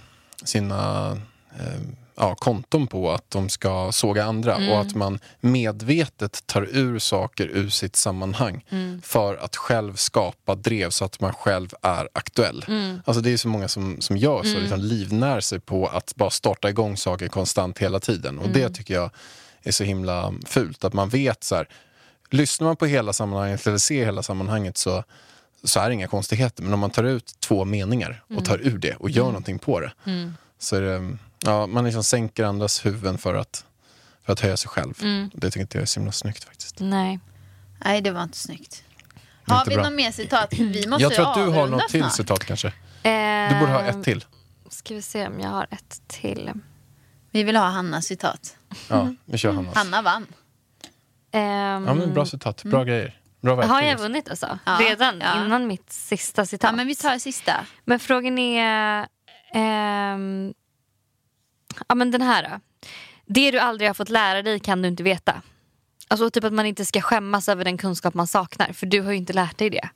sina eh, ja, konton på att de ska såga andra. Och att man medvetet tar ur saker ur sitt sammanhang för att själv skapa drev så att man själv är aktuell. Alltså det är så många som, som gör så, liksom livnär sig på att bara starta igång saker konstant hela tiden. Och det tycker jag är så himla fult. Att man vet så här, lyssnar man på hela sammanhanget eller ser hela sammanhanget så, så är det inga konstigheter. Men om man tar ut två meningar Mm. och tar ur det och gör någonting på det så är det, ja, man liksom sänker andras huvuden för att, för att höja sig själv. Mm. Det tycker inte jag är så himla snyggt faktiskt. Nej. Nej det var inte snyggt. Har Inte vi bra. något mer citat? Vi måste jag tror att du har avrunda något till snart. citat kanske. Ehm, Du borde ha ett till. Ska vi se om jag har ett till. Vi vill ha Hannas citat. mm. Ja, vi kör Hannas. Hanna vann. Ehm, Ja, men bra citat, bra grejer. Bra verktyg. har jag också. vunnit alltså? Ja. Redan Ja. innan mitt sista citat? Ja men vi tar sista. Men frågan är... ehm, ja, men den här då. Det du aldrig har fått lära dig kan du inte veta. Alltså typ att man inte ska skämmas över den kunskap man saknar för du har ju inte lärt dig det.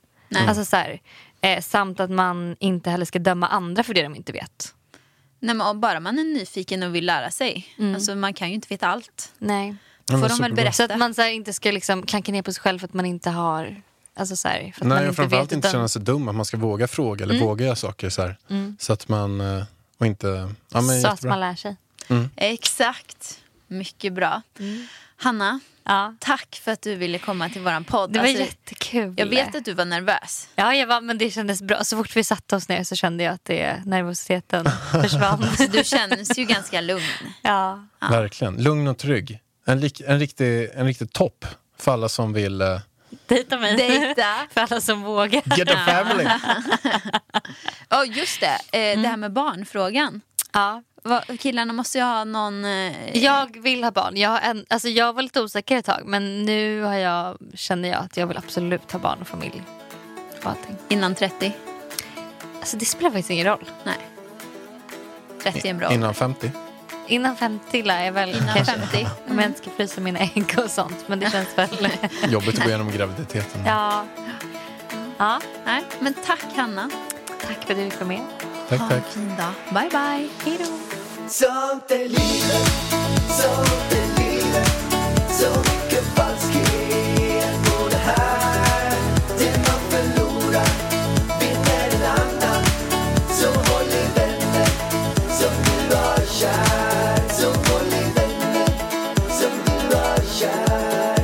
Alltså så här, eh, samt att man inte heller ska döma andra för det de inte vet. Nej, men om bara man är nyfiken och vill lära sig. Mm. Alltså, man kan ju inte veta allt. Nej. Då får men de väl superbra. berätta. Så att man så här, inte ska liksom klanka ner på sig själv för att man inte har... Alltså så här, för att man Nej, och inte Mm. framförallt vet. inte utan- känna sig dum. Att man ska våga fråga eller våga göra saker. Så, här. så att man... eh, Och inte... Ja, men Mm. så att jättebra. man lär sig. Exakt. Mycket bra. Hanna, Mm. Ja. tack för att du ville komma till vår podd. Det var Alltså, jättekul. jag vet att du var nervös. Ja, jag var, men det kändes bra. Så fort vi satte oss ner så kände jag att det, nervositeten försvann. Du känns ju ganska lugn. ja. Verkligen. Lugn och trygg. En, lik, en, riktig, en riktig topp för alla som vill... eh, Dejta mig. Dejta. För alla som vågar. Get a family! Ja, just det. Eh, Det Mm. här med barnfrågan. Ja. Vad- Killarna måste ju ha någon... Eh, Jag vill ha barn. Jag, har en, alltså jag var lite osäker ett tag men nu har jag, känner jag att jag vill absolut ha barn och familj. Och allting. Innan 30. Alltså det spelar faktiskt ingen roll. Nej. 30 är en bra Innan 50. Innan 50 lär jag väl Innan kanske. 50. Om jag inte ska frysa mina ägg och sånt. Men det känns väl. Jobbigt att gå igenom graviditeten. ja. ja. Nej, men tack Hanna. Tack för att du fick vara med. Tack, Ha en tack. fin dag. Bye bye. Hej då. Sånt är livet, sånt är livet Så mycket falskhet på det här Det man förlorar vinner en annan Så håll i vänner som du har kär Så håll i vänner som du har kär